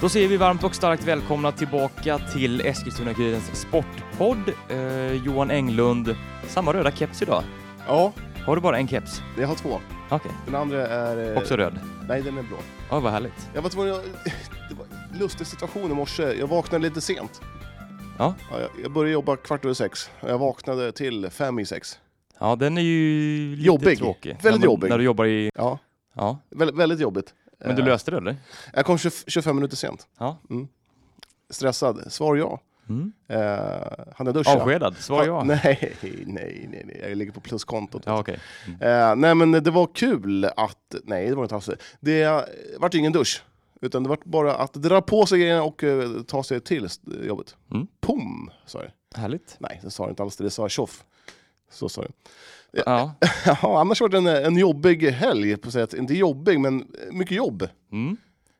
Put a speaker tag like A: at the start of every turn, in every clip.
A: Då säger vi varmt och starkt välkomna tillbaka till Eskilstuna-Kurirens sportpodd. Eh, Johan Englund, samma röda keps idag.
B: Ja,
A: Har du bara en keps?
B: jag har två.
A: Okej,
B: Den andra är... eh,
A: också röd.
B: Nej, den är blå.
A: Ja, vad härligt.
B: Jag var tvungen att... Det var en lustig situation i morse. Jag vaknade lite sent.
A: Ja.
B: jag, jag började jobba kvart över sex. och Jag vaknade till fem i sex.
A: Ja, den är ju lite
B: Jobbig.
A: tråkig.
B: Väldigt
A: när man,
B: jobbig. Eh.
A: När du jobbar i...
B: Ja,
A: Ja,
B: vä- väldigt jobbigt.
A: men du
B: Eh,
A: löste det eller?
B: Jag kom 20, 25 minuter sent.
A: Ja.
B: Mm. Stressad. Svar ja.
A: Mm.
B: Eh, han är duschat.
A: Avskedad, svar ja.
B: Nej, nej, nej, nej. Jag ligger på pluskontot.
A: Ja, okej.
B: Eh, nej men det var kul att, nej det var inte alls det. Det eh, vart ju ingen dusch. Utan det vart bara att dra på sig grejerna och eh, ta sig till st- jobbet.
A: Mm.
B: Pum, sa det.
A: Härligt.
B: Nej, det sa det inte alls det, det sa tjoff. Så sa det.
A: Ja.
B: Ja, annars var det en, en jobbig helg, på sätt. inte jobbig men mycket jobb.
A: Mm.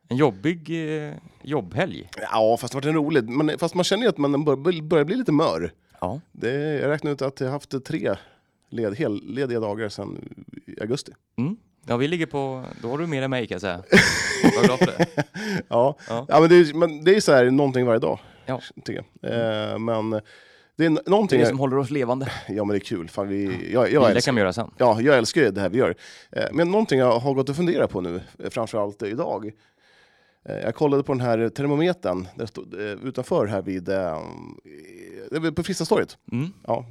A: En jobbig eh, jobbhelg.
B: Ja, fast det vart en rolig. Men, fast man känner ju att man bör- börjar bli lite mör.
A: Ja.
B: Det, jag räknar ut att jag har haft tre led, hellediga dagar sedan augusti.
A: Mm. Ja, vi ligger på... Då har du mer än mig kan jag säga. Var glad för det.
B: Ja,
A: Ja.
B: ja. men, det är, men det är så här någonting varje dag.
A: Ja.
B: Tycker jag. Eh, men det är n-
A: Det
B: någonting...
A: är det som håller oss levande.
B: Ja men det är kul. Fan, vi, jag, jag,
A: Det
B: älskar,
A: kan vi göra sen.
B: ja, jag älskar ju det här vi gör. Eh, men någonting jag har gått och funderat på nu, eh, framförallt idag. Eh, jag kollade på den här termometern där stod, eh, utanför här vid... Eh, eh, på Fristatorget,
A: Mm.
B: ja,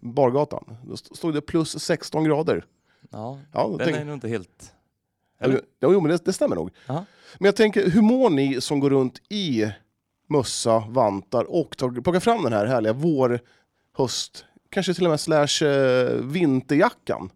B: Bargatan. Då st- stod det plus 16 grader.
A: Ja,
B: Ja, då
A: den
B: tänk-
A: är nog inte helt...
B: Eller? Ja, jo, men det, det stämmer nog.
A: Ja.
B: Men jag tänker, hur mår ni som går runt i mössa, vantar och tar, plockar fram den här härliga vår, höst, kanske till och med slash eh, vinterjackan?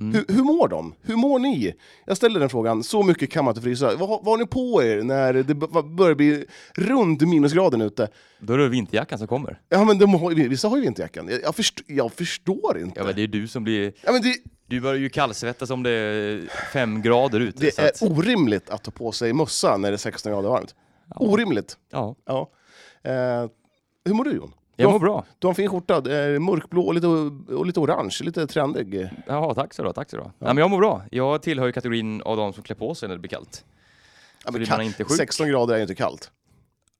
A: Mm.
B: Hur, hur mår de? Hur mår ni? Jag ställer den frågan, så mycket kan man inte frysa. Vad, har- vad har ni på er när det b- b- börjar bli runt minusgraden ute?
A: Då är det vinterjackan som kommer.
B: Ja men de har, ju- vissa har ju vinterjackan, jag, jag, först, jag förstår inte.
A: Ja, men det är du som blir...
B: Ja, men det,
A: Du börjar ju kallsvettas om det är fem grader ute.
B: det
A: så
B: är
A: att,
B: orimligt att ta på sig mössa när det är 16 grader varmt. Orimligt.
A: ja.
B: Ja. Eh, hur mår du Jon? Du
A: Jag
B: har,
A: mår bra.
B: du har en fin skjorta, det är mörkblå och lite, och lite orange, lite trendig.
A: Jaha, tack så då, tack så då. Nej, men jag mår bra. Jag tillhör ju kategorin av de som klär på sig när det blir kallt.
B: Ja,
A: blir
B: ka-
A: man inte sjuk?
B: 16 grader är ju inte kallt.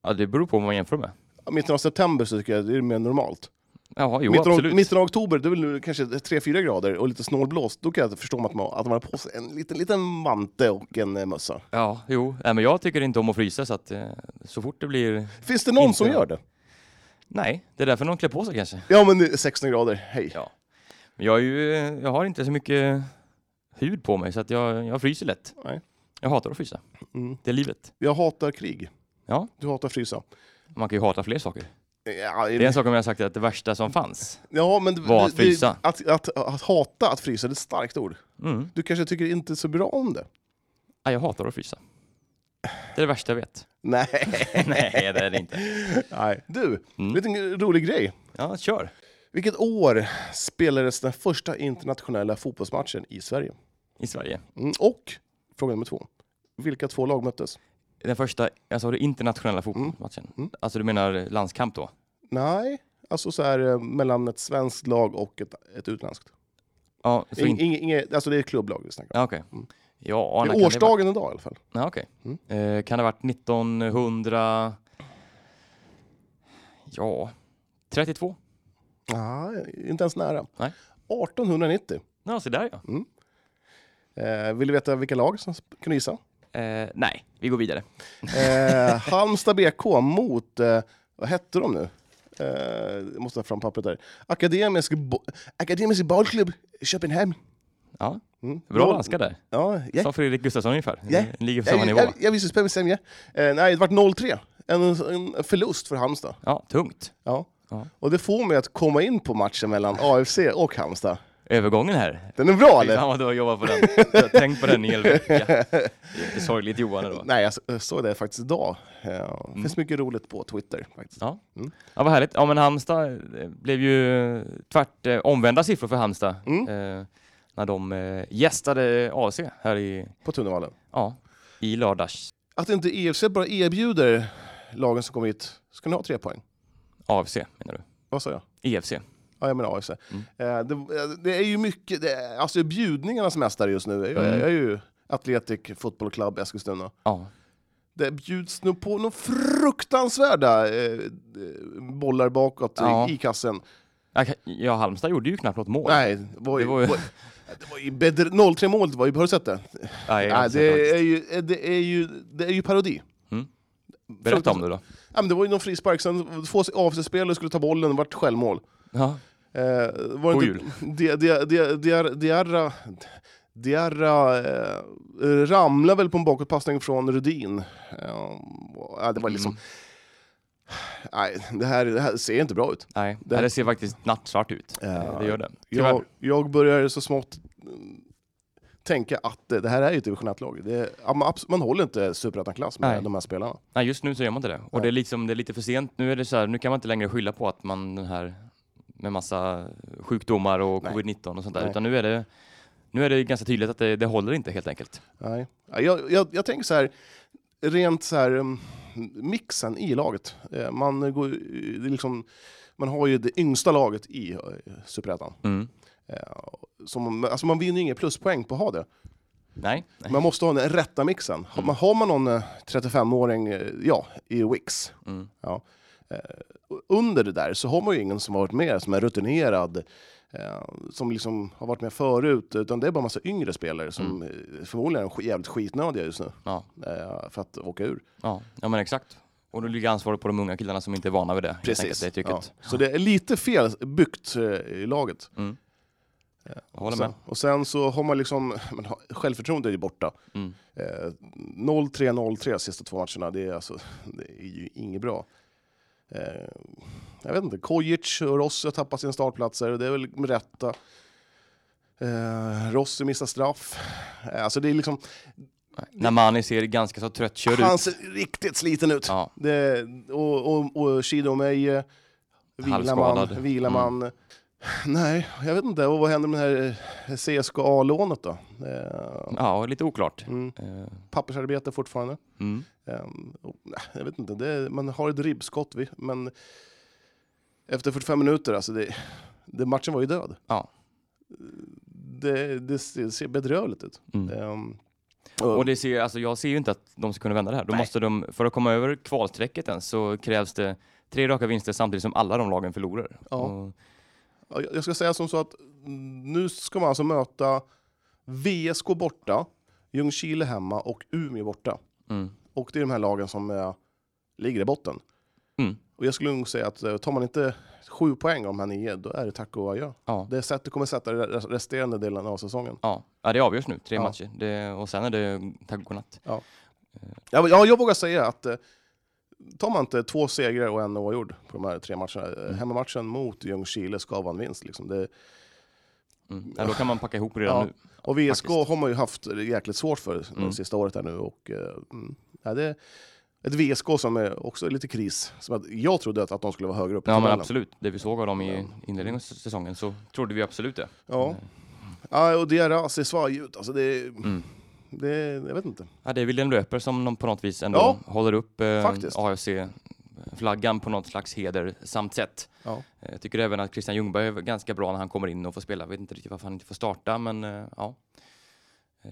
A: Ja, det beror på vad man jämför med.
B: Ja, Mitten av september så tycker jag det är mer normalt.
A: Jaha, jo
B: mitten, av,
A: absolut.
B: mitten av oktober, då är det väl kanske 3-4 grader och lite snålblåst. Då kan jag förstå att man, att man har på sig en liten, liten vante och en eh, mössa.
A: Ja, jo. Nej, men jag tycker inte om att frysa så att eh, så fort det blir...
B: Finns det någon
A: Inte
B: som
A: jag.
B: gör det?
A: Nej, det är därför någon klär på sig kanske.
B: Ja men det är 16 grader, hej.
A: Ja. Men jag, är ju, eh, jag har inte så mycket hud på mig så att jag, jag fryser lätt.
B: Nej.
A: Jag hatar att frysa.
B: Mm.
A: Det är livet.
B: Jag hatar krig.
A: Ja.
B: Du hatar frysa.
A: Man kan ju hata fler saker.
B: Ja,
A: Det är en sak om jag har sagt att det värsta som fanns.
B: ja, men,
A: Vad att
B: det- det-
A: frysa.
B: Att, att, att hata att frysa, det är ett starkt ord.
A: Mm.
B: Du kanske tycker inte så bra om det?
A: Ja, Ah, jag hatar att frysa. Det är det värsta jag vet.
B: Nej.
A: Nej, det är det inte.
B: Nej. Du,
A: Mm.
B: vet du en rolig grej?
A: Ja, kör.
B: Vilket år spelades den första internationella fotbollsmatchen i Sverige?
A: I Sverige.
B: Mm. Och, fråga nummer två. Vilka två lag möttes?
A: Den första, alltså den internationella fotbollsmatchen.
B: Mm.
A: Alltså du menar landskamp då?
B: Nej, alltså så här eh, mellan ett svenskt lag och ett, ett utländskt.
A: Ja, så
B: Ing,
A: in... Mm.
B: ing, ing, alltså det är ett klubblag vi snackar om.
A: Ja, okej. Ja, när kan
B: det är
A: det vara?
B: årsdagen idag i alla fall.
A: Ja, okej. Eh, kan det ha varit 1900... Ja, 32?
B: Nej, inte ens nära.
A: Nej.
B: 1890.
A: Ja, så där ja.
B: Eh, vill du veta vilka lag som sp- kunde gissa?
A: Eh, nej, vi går vidare.
B: Eh, Halmstad BK mot, eh, vad hette de nu? Eh, jag måste ta fram pappret där. Akademisk, bo- Akademisk bollklubb Köpenhamn.
A: Ja,
B: Mm.
A: bra
B: Noll-
A: danska där.
B: Ja, ja.
A: Som Fredrik Gustafsson ungefär.
B: Ja.
A: Den Ligger på samma
B: Jag,
A: nivå.
B: jag, jag visste spela sämre. Eh, nej, det vart 0-3. En, en förlust för Halmstad.
A: Ja, tungt.
B: Ja.
A: Ja.
B: Och det får mig att komma in på matchen mellan AFC och Halmstad.
A: Övergången här.
B: Den är bra
A: Fy
B: eller?
A: fan vad du har jobbat på den. Jag har tänkt på den i hel vecka. Det är lite sorgligt Johan ändå.
B: Nej, jag s- jag såg det faktiskt idag. Eh, Det finns
A: Mm.
B: mycket roligt på Twitter. faktiskt.
A: Ja.
B: Mm.
A: ja, vad härligt. Ja, men Halmstad eh, blev ju tvärt eh, omvända siffror för Halmstad
B: Mm.
A: eh, när de eh, gästade AC här i,
B: På Tunnevallen.
A: ja, i lördags.
B: Att inte EFC bara erbjuder lagen som kommer hit, ska ni ha tre poäng?
A: AFC menar du? E
B: Vad sa jag?
A: EFC.
B: Ja, jag menar AFC.
A: Mm.
B: Eh, det, eh, det är ju mycket, det är, alltså bjudningarnas mästare just nu. Jag,
A: Mm.
B: jag är ju Athletic Football Club Eskilstuna.
A: Ja.
B: Det bjuds nog på några fruktansvärda eh, eh, bollar bakåt
A: Ja.
B: i, i kassen.
A: Jag- Ja, Halmstad gjorde ju knappt något mål.
B: Nej, det var ju...
A: Det var ju-
B: var- det var ju bedre- 0-3-målet var ju, har du sett det?
A: Nej, jag har
B: Nej,
A: inte sett
B: det,
A: det.
B: är ju, det, är ju, det är ju parodi.
A: Mm. Berätta om det då.
B: Ja, men det var ju någon frispark, sen två AFC-spelare skulle ta bollen, det vart självmål.
A: Ja.
B: Eh, var
A: God
B: det
A: jul.
B: inte- Di- Di- Di- Di- Diarra... Diarra eh, ramlade väl på en bakåtpassning från Rudin. Eh, ja, det var liksom...
A: Mm.
B: Nej, det här, det här ser inte bra ut.
A: Nej,
B: Det-
A: det, det ser faktiskt nattsvart ut.
B: Ja.
A: Det gör det. Tyvärr.
B: Jag, jag börjar så smått mm, tänka att eh, det här är ju ett division 1-lag. Det är- ja, Man, abs- man håller inte superettan-klass med
A: Nej.
B: de här spelarna.
A: Nej, just nu så gör man inte det. Och det, är liksom, det är lite för sent. Nu, är det så här, nu kan man inte längre skylla på att man den här med massa sjukdomar och
B: Nej.
A: covid-19 och sånt där.
B: Nej.
A: Utan nu är, det, nu är det ganska tydligt att det, det håller inte helt enkelt.
B: Nej. Ja, Jag, jag, jag tänker så här, rent så här, mm, mixen i laget. Eh, Man, går, ju- det är liksom, man har ju det yngsta laget i eh, Superettan.
A: Mm.
B: Eh, Som, alltså man vinner ju inga pluspoäng på att ha det.
A: Nej, nej. Mm.
B: Man måste ha den rätta mixen. Har man, har man någon eh, 35-åring eh, ja, i Wix,
A: Mm.
B: ja, eh, under det där så har man ju ingen som har varit med, som är rutinerad, eh, som liksom har varit med förut, utan det är bara massa yngre spelare som
A: Mm.
B: eh, förmodligen är sk- jävligt skitnödiga just nu
A: Ja,
B: eh, för att åka ur.
A: ja. ja, men exakt. Och då ligger ansvaret på de unga killarna som inte är vana vid det. helt enkelt, Det
B: ja.
A: tycket.
B: Så det är lite fel byggt eh, i laget.
A: Mm. Jag håller
B: Sen,
A: med.
B: och sen så har man liksom, men, ha- självförtroendet är ju borta.
A: Mm.
B: Eh, 0-3, 0-3 sista två matcherna, det är, alltså, det är ju inget bra. Eh, jag vet inte, Kojic och Rossi har tappat sina startplatser, det är väl med rätta. Eh, Rossi missar straff. Eh, alltså det är liksom,
A: När Mani ser ganska så tröttkörd
B: han
A: ut.
B: ser riktigt sliten ut.
A: Ja.
B: Det, och, och, och Shido Meije, vilar
A: Halvskadad. Mm.
B: man, vilar man. Nej, jag vet inte. Och vad händer med det här eh, CSKA-lånet då? Eh,
A: Ja, lite oklart.
B: mm,
A: Eh,
B: pappersarbete fortfarande.
A: Mm.
B: Ehm, och, nej, jag vet inte, det är, man har ett ribbskott, vi- men efter 45 minuter, alltså det, det, matchen var ju död.
A: Ja.
B: Det, det ser ser bedrövligt ut.
A: Mm.
B: Ehm,
A: Och det ser, alltså jag ser ju inte att de ska kunna vända det här. Då
B: Nej.
A: måste de, för att komma över kvalstrecket ens så krävs det tre raka vinster samtidigt som alla de lagen förlorar.
B: Ja.
A: Och,
B: ja, jag jag ska säga som så att mm, nu ska man alltså möta VSK borta, Ljungskile hemma och Umeå borta.
A: mm,
B: Och det är de här lagen som eh, ligger i botten.
A: mm,
B: Och jag skulle nog säga att eh, tar man inte sju poäng av de här nio, då är det tack och adjö.
A: ja.
B: Det sättet kommer sätta re- resterande delen av säsongen.
A: Ja. ja, det avgörs nu. Tre
B: Ja.
A: matcher. Det, och sen är det tack och godnatt.
B: Ja, jag, jag vågar säga att eh, tar man inte två segrar och en oavgjord på de här tre matcherna, eh, hemmamatchen mot Ljungskile ska vara en vinst. Liksom. Det,
A: Mm. Ja, då kan man packa ihop redan
B: Ja.
A: nu.
B: och VSK
A: Faktiskt.
B: har man ju haft jäkligt svårt för de
A: Mm.
B: sista året här nu. Och, eh, mm, ja, det är ett VSK som är också lite kris. Som att jag trodde att, att de skulle vara högre upp i
A: Ja men
B: tabellen.
A: absolut, det vi såg av dem i inledningen av säsongen så trodde vi absolut det.
B: Ja. Ja, och deras ser svajig ut. Alltså det,
A: Mm.
B: det, jag vet inte.
A: Ja, det är William Löper som de på något vis ändå
B: Ja.
A: håller upp eh,
B: Faktiskt.
A: AFC-flaggan på något slags heder samt sätt.
B: Ja.
A: Eh, Jag tycker även att Christian Ljungberg är ganska bra när han kommer in och får spela. Jag vet inte riktigt varför han inte får starta, men eh, ja. Eh,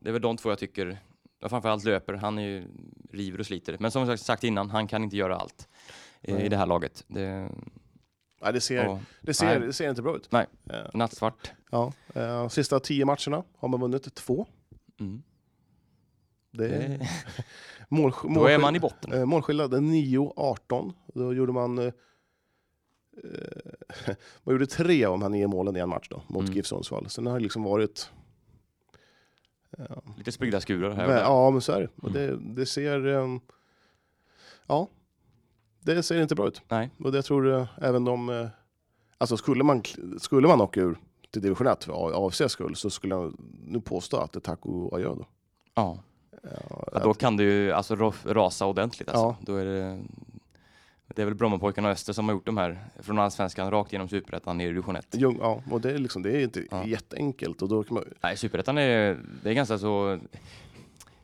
A: Det är väl de två jag tycker, ja, framförallt löper, han är ju river och sliter. Men som jag sagt innan, han kan inte göra allt eh, i
B: Nej.
A: det här laget. Det,
B: Ja, det, ser,
A: och,
B: det, ser,
A: nej.
B: det ser inte bra ut.
A: Nej.
B: Eh,
A: nattsvart.
B: Ja. Eh, Sista tio matcherna har man vunnit två.
A: Mm.
B: Det är
A: Det,
B: mål,
A: då är
B: målskill-
A: man i botten.
B: Eh, målskillnad är 9-18. Då gjorde man... Eh, eh, man gjorde tre av de här nio målen i en match då, mot
A: Mm.
B: GIF Sundsvall. Sen har det liksom varit... Ja,
A: Lite spridda skurar här och
B: men,
A: där.
B: ja men så är det.
A: Mm.
B: Och det, det ser... ehm, ja, det ser inte bra ut.
A: Nej.
B: Och det tror jag även de... Eh, alltså skulle man, kl- skulle man åka ur till division 1 för AFCs skull så skulle jag nu påstå att det är taco adjö då.
A: Ja.
B: Ja,
A: Ja, då kan det ju alltså, ro- rasa ordentligt. Alltså.
B: Ja.
A: Då är det, det är väl Brommapojkarna och Öster som har gjort de här från Allsvenskan rakt genom Superettan ner i division 1.
B: Ljung- Ja, och det är, liksom, det är inte
A: Ja.
B: jätteenkelt. Och då kan man,
A: Nej, superettan är, det är ganska så...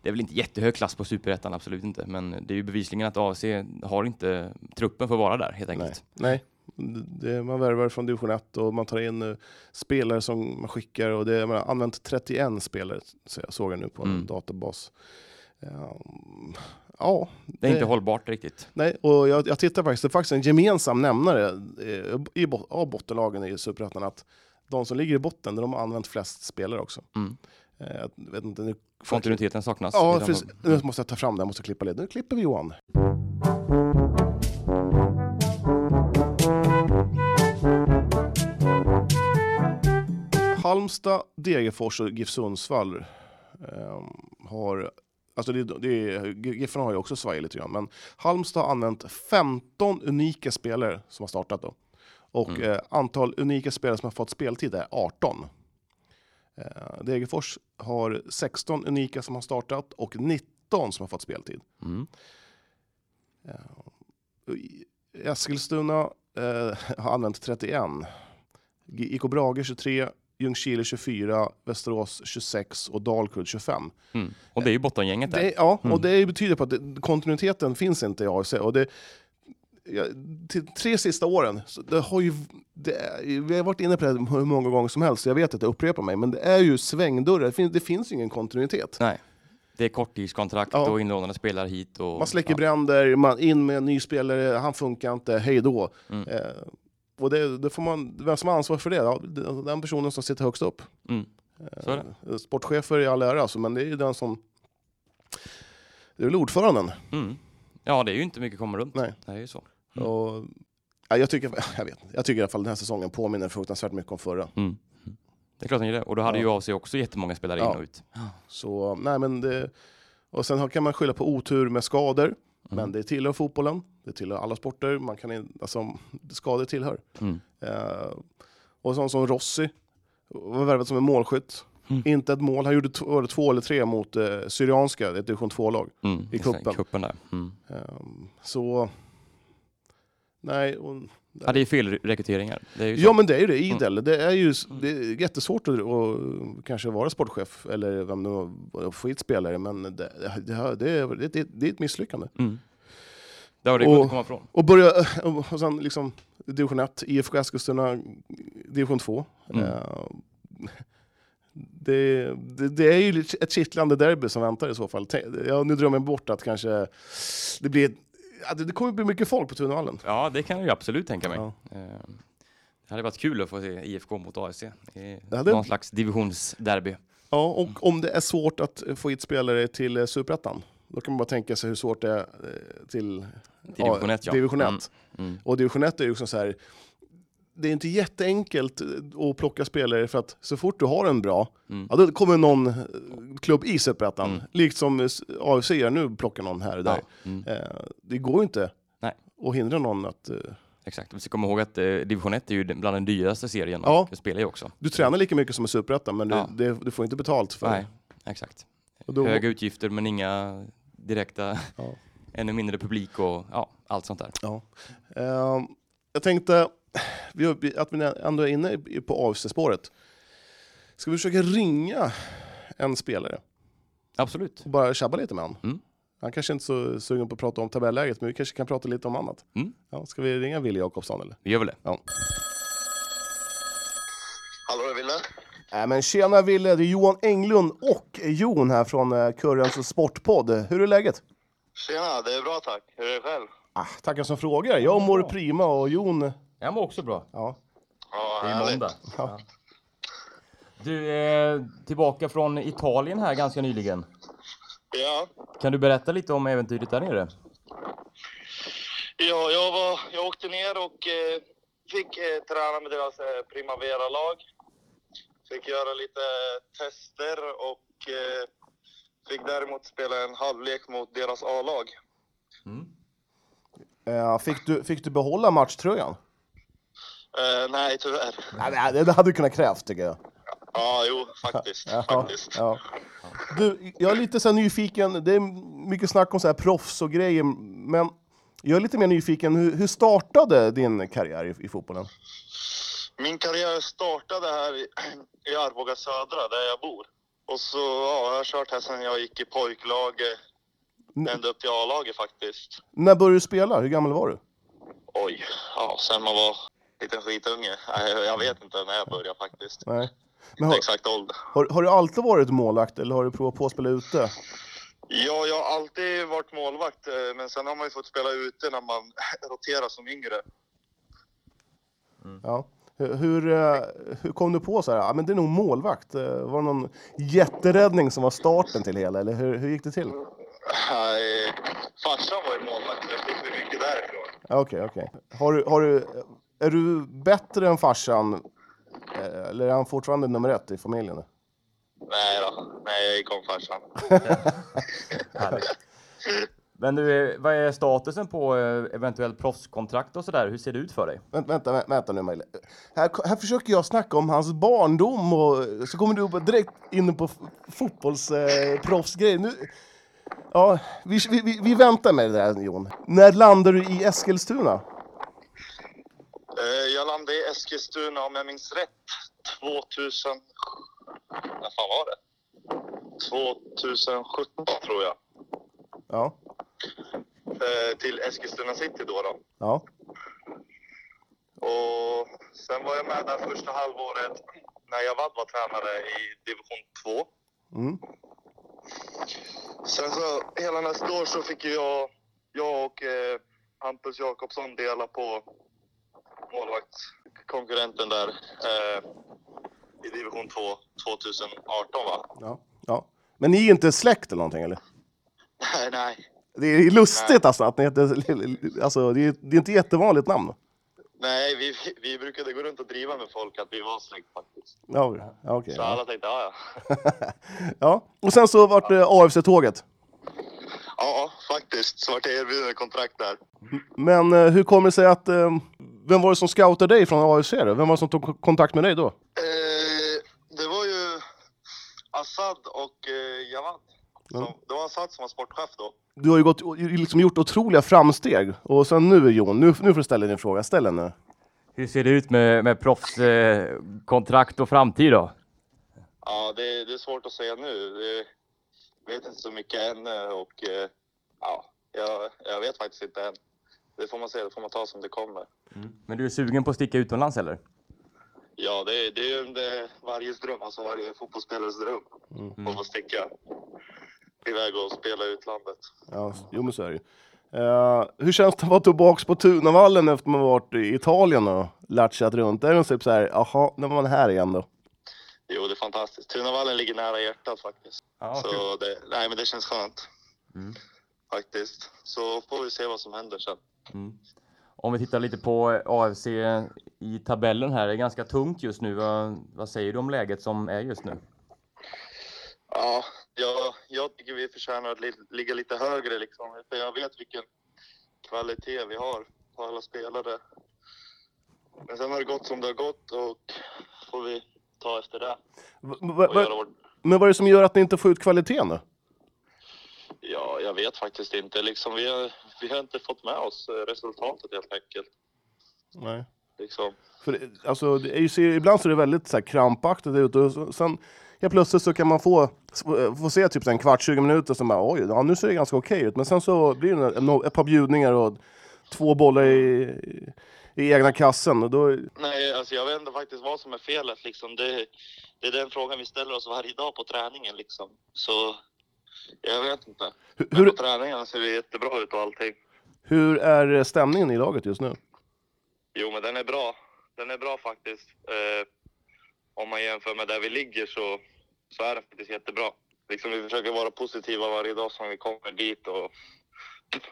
A: Det är väl inte jättehög klass på superettan, absolut inte. Men det är ju bevisligen att AFC har inte truppen för att vara där helt enkelt.
B: Nej. Det, man värvar från division 1 och man tar in eh, spelare som man skickar och det, man har använt 31 spelare så jag såg jag nu på en
A: Mm.
B: databas. Ehm, ja,
A: Det är inte
B: Det-
A: hållbart riktigt.
B: nej, och jag, jag tittar faktiskt, det är faktiskt en gemensam nämnare eh, i, bot- av bottenlagen i Superettan att de som ligger i botten, de har använt flest spelare också.
A: Mm.
B: Eh, Jag vet inte, nu
A: Kontinuiteten saknas. liksom.
B: Ja,
A: Utan-
B: precis. Nu måste jag ta fram det, jag måste klippa det. Nu klipper vi Johan. Halmstad, Degerfors och GIF Sundsvall ehm, har... Alltså det, det, GIFarna har ju också svajat lite grann, men Halmstad har använt 15 unika spelare som har startat då. Och
A: Mm.
B: eh, antal unika spelare som har fått speltid är 18. Eh, Degerfors har 16 unika som har startat och 19 som har fått speltid.
A: Mm.
B: I- Eskilstuna eh, har använt 31. G- IK Brage 23, Ljungskile 24, Västerås 26 och Dalkurd 25.
A: Mm. Och det är ju bottengänget där.
B: Det, ja, och
A: Mm.
B: det betyder på att det, kontinuiteten finns inte i AFC. Och det, ja, till tre sista åren, så det har ju, det, är- vi har varit inne på det här hur många gånger som helst, jag vet att jag upprepar mig, men det är ju svängdörrar, det finns, det finns ju ingen kontinuitet.
A: Nej. Det är korttidskontrakt
B: Ja.
A: och inlånade spelare hit. Och,
B: Man släcker
A: ja.
B: bränder, man in med en ny spelare, han funkar inte, hej då.
A: Mm.
B: Eh, och det, det får man, vem som har ansvar för det? Ja, den den personen som sitter högst upp.
A: Mm. Så är
B: Eh, Sportchefer i all ära, alltså, men det är ju den som... Det är väl ordföranden.
A: Mm. Ja, det är ju inte mycket kommer runt.
B: Nej.
A: Det är ju så. Mm.
B: Och, ja, jag, tycker, jag, vet, inte. jag tycker i alla fall den här säsongen påminner fruktansvärt mycket om förra.
A: Mm. Det är klart han gör det. Och då hade
B: Ja.
A: ju AFC också jättemånga spelare
B: Ja.
A: in och ut.
B: Så, nej, men det, och sen har- kan man skylla på otur med skador,
A: Mm.
B: men det tillhör fotbollen, det tillhör alla sporter, man kan in, alltså, skador tillhör.
A: Mm.
B: Eh, och sån som Rossi, var värvad som en målskytt.
A: Mm.
B: Inte ett mål, han gjorde t- var det två eller tre mot eh, Syrianska, ett division 2-lag.
A: Mm.
B: I kuppen.
A: kuppen där. Mm.
B: Eh, så, nej. Och,
A: Ja, det är felrekryteringar. Det är ju Mm. så.
B: Ja men det är ju det, idel. Det är ju det är jättesvårt att, att kanske vara sportchef eller vem nu och få hit spelare men det, det, här- det, är- det, det, det är ett misslyckande.
A: Mm. Det har det gått
B: Och-
A: att komma ifrån.
B: Och börja, och sen liksom division 1, IFK Eskilstuna, division 2.
A: Mm.
B: Eh, det, det, det är ju lite- ett kittlande derby som väntar i så fall. Tänk- Ja, nu drömmer jag bort att kanske det blir, ja, det, det kommer bli mycket folk på Tunvallen.
A: Ja, det kan jag ju absolut tänka mig.
B: Ja.
A: Eh, Det hade varit kul att få se IFK mot AFC. i
B: Det hade-
A: Någon slags divisionsderby.
B: Ja,
A: Mm.
B: och om det är svårt att få hit spelare till eh, Superettan, då kan man bara tänka sig hur svårt det är eh, till
A: Till division 1 ja.
B: division 1.
A: Mm. Mm.
B: Och division 1 är ju också så här, det är inte jätteenkelt eh, att plocka spelare för att så fort du har en bra,
A: Mm.
B: ja, då kommer någon eh, klubb i Superettan,
A: Mm.
B: likt som eh, s- AFC gör nu, plockar någon här och där.
A: Ja. Mm.
B: Eh, det går ju inte
A: Nej.
B: att hindra någon att... eh,
A: Exakt, vi ska komma ihåg att eh, division 1 är ju den- bland den dyraste serien
B: Ja.
A: att spela i också.
B: Du tränar lika mycket som i Superettan, men du,
A: Ja.
B: det, du får inte betalt för
A: Nej,
B: det.
A: exakt.
B: Och då-
A: Höga utgifter men inga direkta,
B: Ja.
A: ännu mindre publik och ja, allt sånt där.
B: Ehm, jag tänkte vi- vi- att vi ändå är inne i- på AFC-spåret. Ska vi försöka ringa en spelare
A: Absolut.
B: och bara tjabba lite med honom?
A: Mm.
B: Han kanske inte är så sugen på att prata om tabelläget, men vi kanske kan prata lite om annat.
A: Mm.
B: Ja, ska vi ringa Wille Jakobsson eller?
A: Vi gör väl det.
C: Hallå, det är Wille.
B: Äh, men tjena Wille, det är Johan Englund och Jon här från eh, Kurrens Sportpodd. Hur är läget?
C: Tjena, det är bra tack. Hur är det själv?
B: Ah, tackar som frågar. Jag mår prima och Jon...
A: Jag mår också bra.
B: Ja.
C: Ja,
A: Det är
C: härligt.
A: måndag.
B: Ja.
A: Du
D: eh,
A: är tillbaka från Italien här ganska nyligen.
C: Ja.
A: Kan du berätta lite om äventyret där nere?
C: ja jag, var, jag åkte ner och eh, fick eh, träna med deras eh, Primavera-lag. Fick göra lite eh, tester och eh, fick däremot spela en halvlek mot deras A-lag.
B: Eh, fick, du, fick du behålla matchtröjan?
C: Eh, nej, tyvärr.
B: Ja, det- det hade du kunnat krävt tycker jag.
C: Ja, jo, faktiskt.
B: Ja,
C: faktiskt.
B: ja. Du, jag är lite så här nyfiken, det är mycket snack om så här proffs och grejer, men jag är lite mer nyfiken, hur, hur startade din karriär i, i fotbollen?
C: Min karriär startade här i, i Arboga södra, där jag bor. Och så ja, jag har kört här sedan jag gick i pojklaget,
B: Mm.
C: ända upp till A-laget faktiskt.
B: När började du spela? Hur gammal var du?
C: Oj, ja, sen man var liten skitunge. Nej, Jag vet inte när jag började faktiskt.
B: Nej. Men
C: Inte
B: har,
C: exakt ålder.
B: har, har du alltid varit målvakt eller har du provat på att spela ute?
C: Ja, jag har alltid varit målvakt, eh, men sen har man ju fått spela ute när man roterar som yngre.
B: Ja. Hur, hur, eh, hur kom du på så här, ja, men det är nog målvakt? Eh, Var det någon jätteräddning som var starten till hela eller hur, hur gick det till?
C: Nej, Farsan var ju målvakt, så jag fick vi mycket därifrån.
B: Ja, Okej, okej. Har du, har du, är du bättre än farsan? Eh, Eller är han fortfarande nummer ett i familjen? nu?
C: Nej då, nej jag gick om farsan.
D: Härligt. Men du, eh, vad är statusen på eh, eventuellt proffskontrakt och sådär? Hur ser det ut för dig?
B: Vänt, vänta, vä- vänta nu Mejle. Här, här försöker jag snacka om hans barndom och eh, så kommer du upp direkt in på fotbollsproffsgrejen. Eh, proffsgrejer. nu, ja, vi, vi, vi- vi väntar med det där Jon. När landar du i Eskilstuna?
C: Eh, Jag landade i Eskilstuna om jag minns rätt 2000... När fan var det? 2017 tror jag.
B: Ja.
C: Eh, Till Eskilstuna city då, då.
B: ja.
C: Och sen var jag med där första halvåret när Javad var tränare i division 2.
B: Mm.
C: Sen så hela nästa år så fick ju jag, jag och eh, Hampus Jakobsson dela på målvaktskonkurrenten där eh, i division 2 2018 va?
B: ja. ja. Men ni är inte släkt eller någonting eller?
C: Nej, nej.
B: Det är ju lustigt alltså att ni heter... Alltså, det, är, det är inte jättevanligt namn.
C: Nej, vi, vi brukade gå runt och driva med folk att vi var släkt faktiskt.
B: Ja, ja, okej.
C: Så
B: ja.
C: alla tänkte, ja ja.
B: ja. Och sen så vart det AFC-tåget.
C: Ja, faktiskt. Så vart jag erbjuden kontrakt där.
B: Men eh, hur kommer det sig att... Eh, vem var det som scoutade dig från AFC då? Vem var det som tog kontakt med dig då?
C: Eh, det var ju Assad och eh, Javad. Som, Det var Assad som var sportchef då.
B: Du har ju gått, liksom gjort otroliga framsteg. Och sen nu Jon, nu, nu får du ställa din fråga. Ställ den nu.
D: Hur ser det ut med, med proffskontrakt och framtid då?
C: Ja, det, det är svårt att säga nu. Det- Jag vet inte så mycket än eh, och eh, ja, jag, jag vet faktiskt inte än. Det får man se, det får man ta som det kommer.
D: Men du är sugen på att sticka utomlands eller?
C: Ja, det, det är ju en- det, varje dröm, alltså varje fotbollsspelares dröm.
D: Mm.
C: Att få sticka iväg och spela i utlandet.
B: Ja, jo men så är det ju. Eh, hur känns det att vara tillbaka på Tunavallen efter man varit i Italien och latchat runt? Är det typ så här, jaha, nu var man här igen då?
C: Jo, det är fantastiskt. Tunavallen ligger nära hjärtat faktiskt.
D: Ja, kul.
C: Så det, nej, men det känns skönt.
D: Mm.
C: Faktiskt. Så får vi se vad som händer sen.
D: Mm. Om vi tittar lite på eh, AFC i tabellen här, det är ganska tungt just nu. Vad, vad säger du om läget som är just nu?
C: Ja, jag, jag tycker vi förtjänar att li, ligga lite högre liksom. För jag vet vilken kvalitet vi har på alla spelare. Men sen har det gått som det har gått och får vi ta efter det.
B: V- v-
C: Och
B: v-
C: göra vårt...
B: men vad är det som gör att ni inte får ut kvaliteten då?
C: Ja, jag vet faktiskt inte. Liksom, vi, har, vi har inte fått med oss eh, resultatet helt enkelt.
B: Nej.
C: Liksom.
B: För det, alltså, det är ju, ser- ibland så är det väldigt så här, krampaktigt ut och så- sen helt plötsligt så kan man få, få se typ så här en kvart, 20 minuter som bara oj, ja, nu ser det ganska okej ut. Men sen så blir det en, en, ett par bjudningar och två bollar i, i egna kassen och då,
C: Nej, alltså jag vet inte faktiskt vad som är felet liksom. Det, det är den frågan vi ställer oss varje dag på träningen liksom. Så jag vet inte.
B: Hur-
C: Men
B: hur-
C: på träningen ser det jättebra ut och allting.
B: hur är stämningen i laget just nu?
C: Jo, men den är bra. Den är bra faktiskt. Eh, om man jämför med där vi ligger så, så är den faktiskt jättebra. Liksom, vi försöker vara positiva varje dag som vi kommer dit och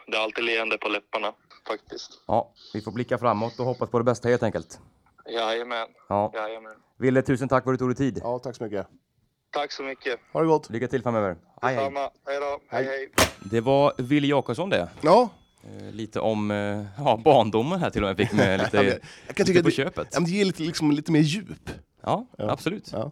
C: det är alltid leende på läpparna faktiskt.
D: Ja, vi får blicka framåt och hoppas på det bästa helt enkelt.
C: Jajamän,
D: Ja.
C: jajamän.
D: Ville, tusen tack för att du tog dig tid.
B: Ja, tack så mycket.
C: Tack så mycket.
B: Ha det gott.
D: Lycka till framöver. Hej, hej.
C: Detsamma. Hej då. Hej, hej.
A: Det var Wille Jakobsson det.
B: Ja,
A: Eh, lite om eh, ja, barndomen här till och med fick med
B: Ja,
A: lite,
B: men jag
A: lite
B: kan tycka
A: på
B: att det,
A: köpet.
B: ja, men det ger lite, liksom, lite mer djup.
A: Ja, absolut.
B: Ja.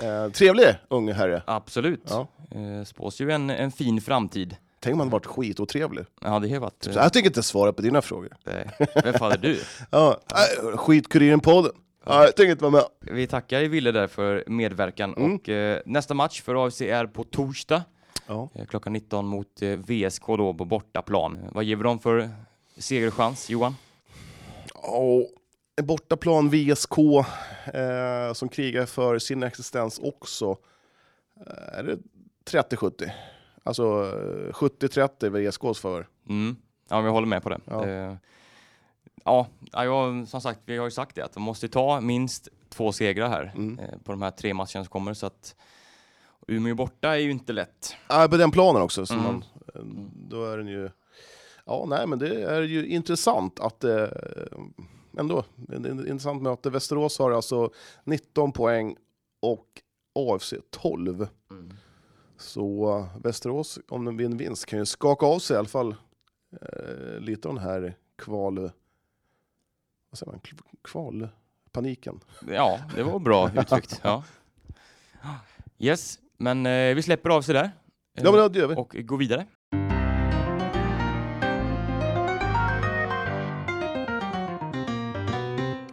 A: Mm.
B: Eh, trevlig ung herre.
A: Absolut.
B: Ja.
A: Eh, spås ju en, en fin framtid.
B: Tänk om han varit skitotrevlig.
A: Ja, det har ju varit...
B: Så jag tänker inte svara på dina frågor.
A: nej. Vem fan är du?
B: Ja, äh, Skitkuriren-podden. Ja, jag tänker inte vara med.
A: Vi tackar ju Wille där för medverkan
D: Mm.
A: och eh, nästa match för AFC är på torsdag
B: Ja.
A: eh, klockan 19 mot eh, VSK då på bortaplan. Eh, Vad ger vi dem för segerchans, Johan?
B: Ja, en bortaplan VSK eh, som krigar för sin existens också. Eh, Är det 30-70? Alltså eh, 70-30 VSKs favör.
A: Mm. Ja, men jag håller med på det.
B: Ja.
A: Eh, ja, ja, jag, som sagt, vi har ju sagt det att de måste ta minst två segrar här
B: Mm.
A: eh, på de här tre matcherna som kommer. Så att Umeå borta är ju inte lätt.
B: Ja, på den planen också. Så
A: Mm.
B: man, eh, då är den ju... Ja, nej, men det är ju intressant att... Eh, ändå, det är ett intressant möte. Västerås har alltså 19 poäng och AFC 12. Så eh, Västerås, om de vinner vinst, kan ju skaka av sig i alla fall eh, lite av den här kval... Vad säger man? Kv- Kvalpaniken.
A: Ja, det var bra uttryckt. Ja. Yes, men eh, vi släpper av sig där.
B: Ja, men det gör vi.
A: och går vidare.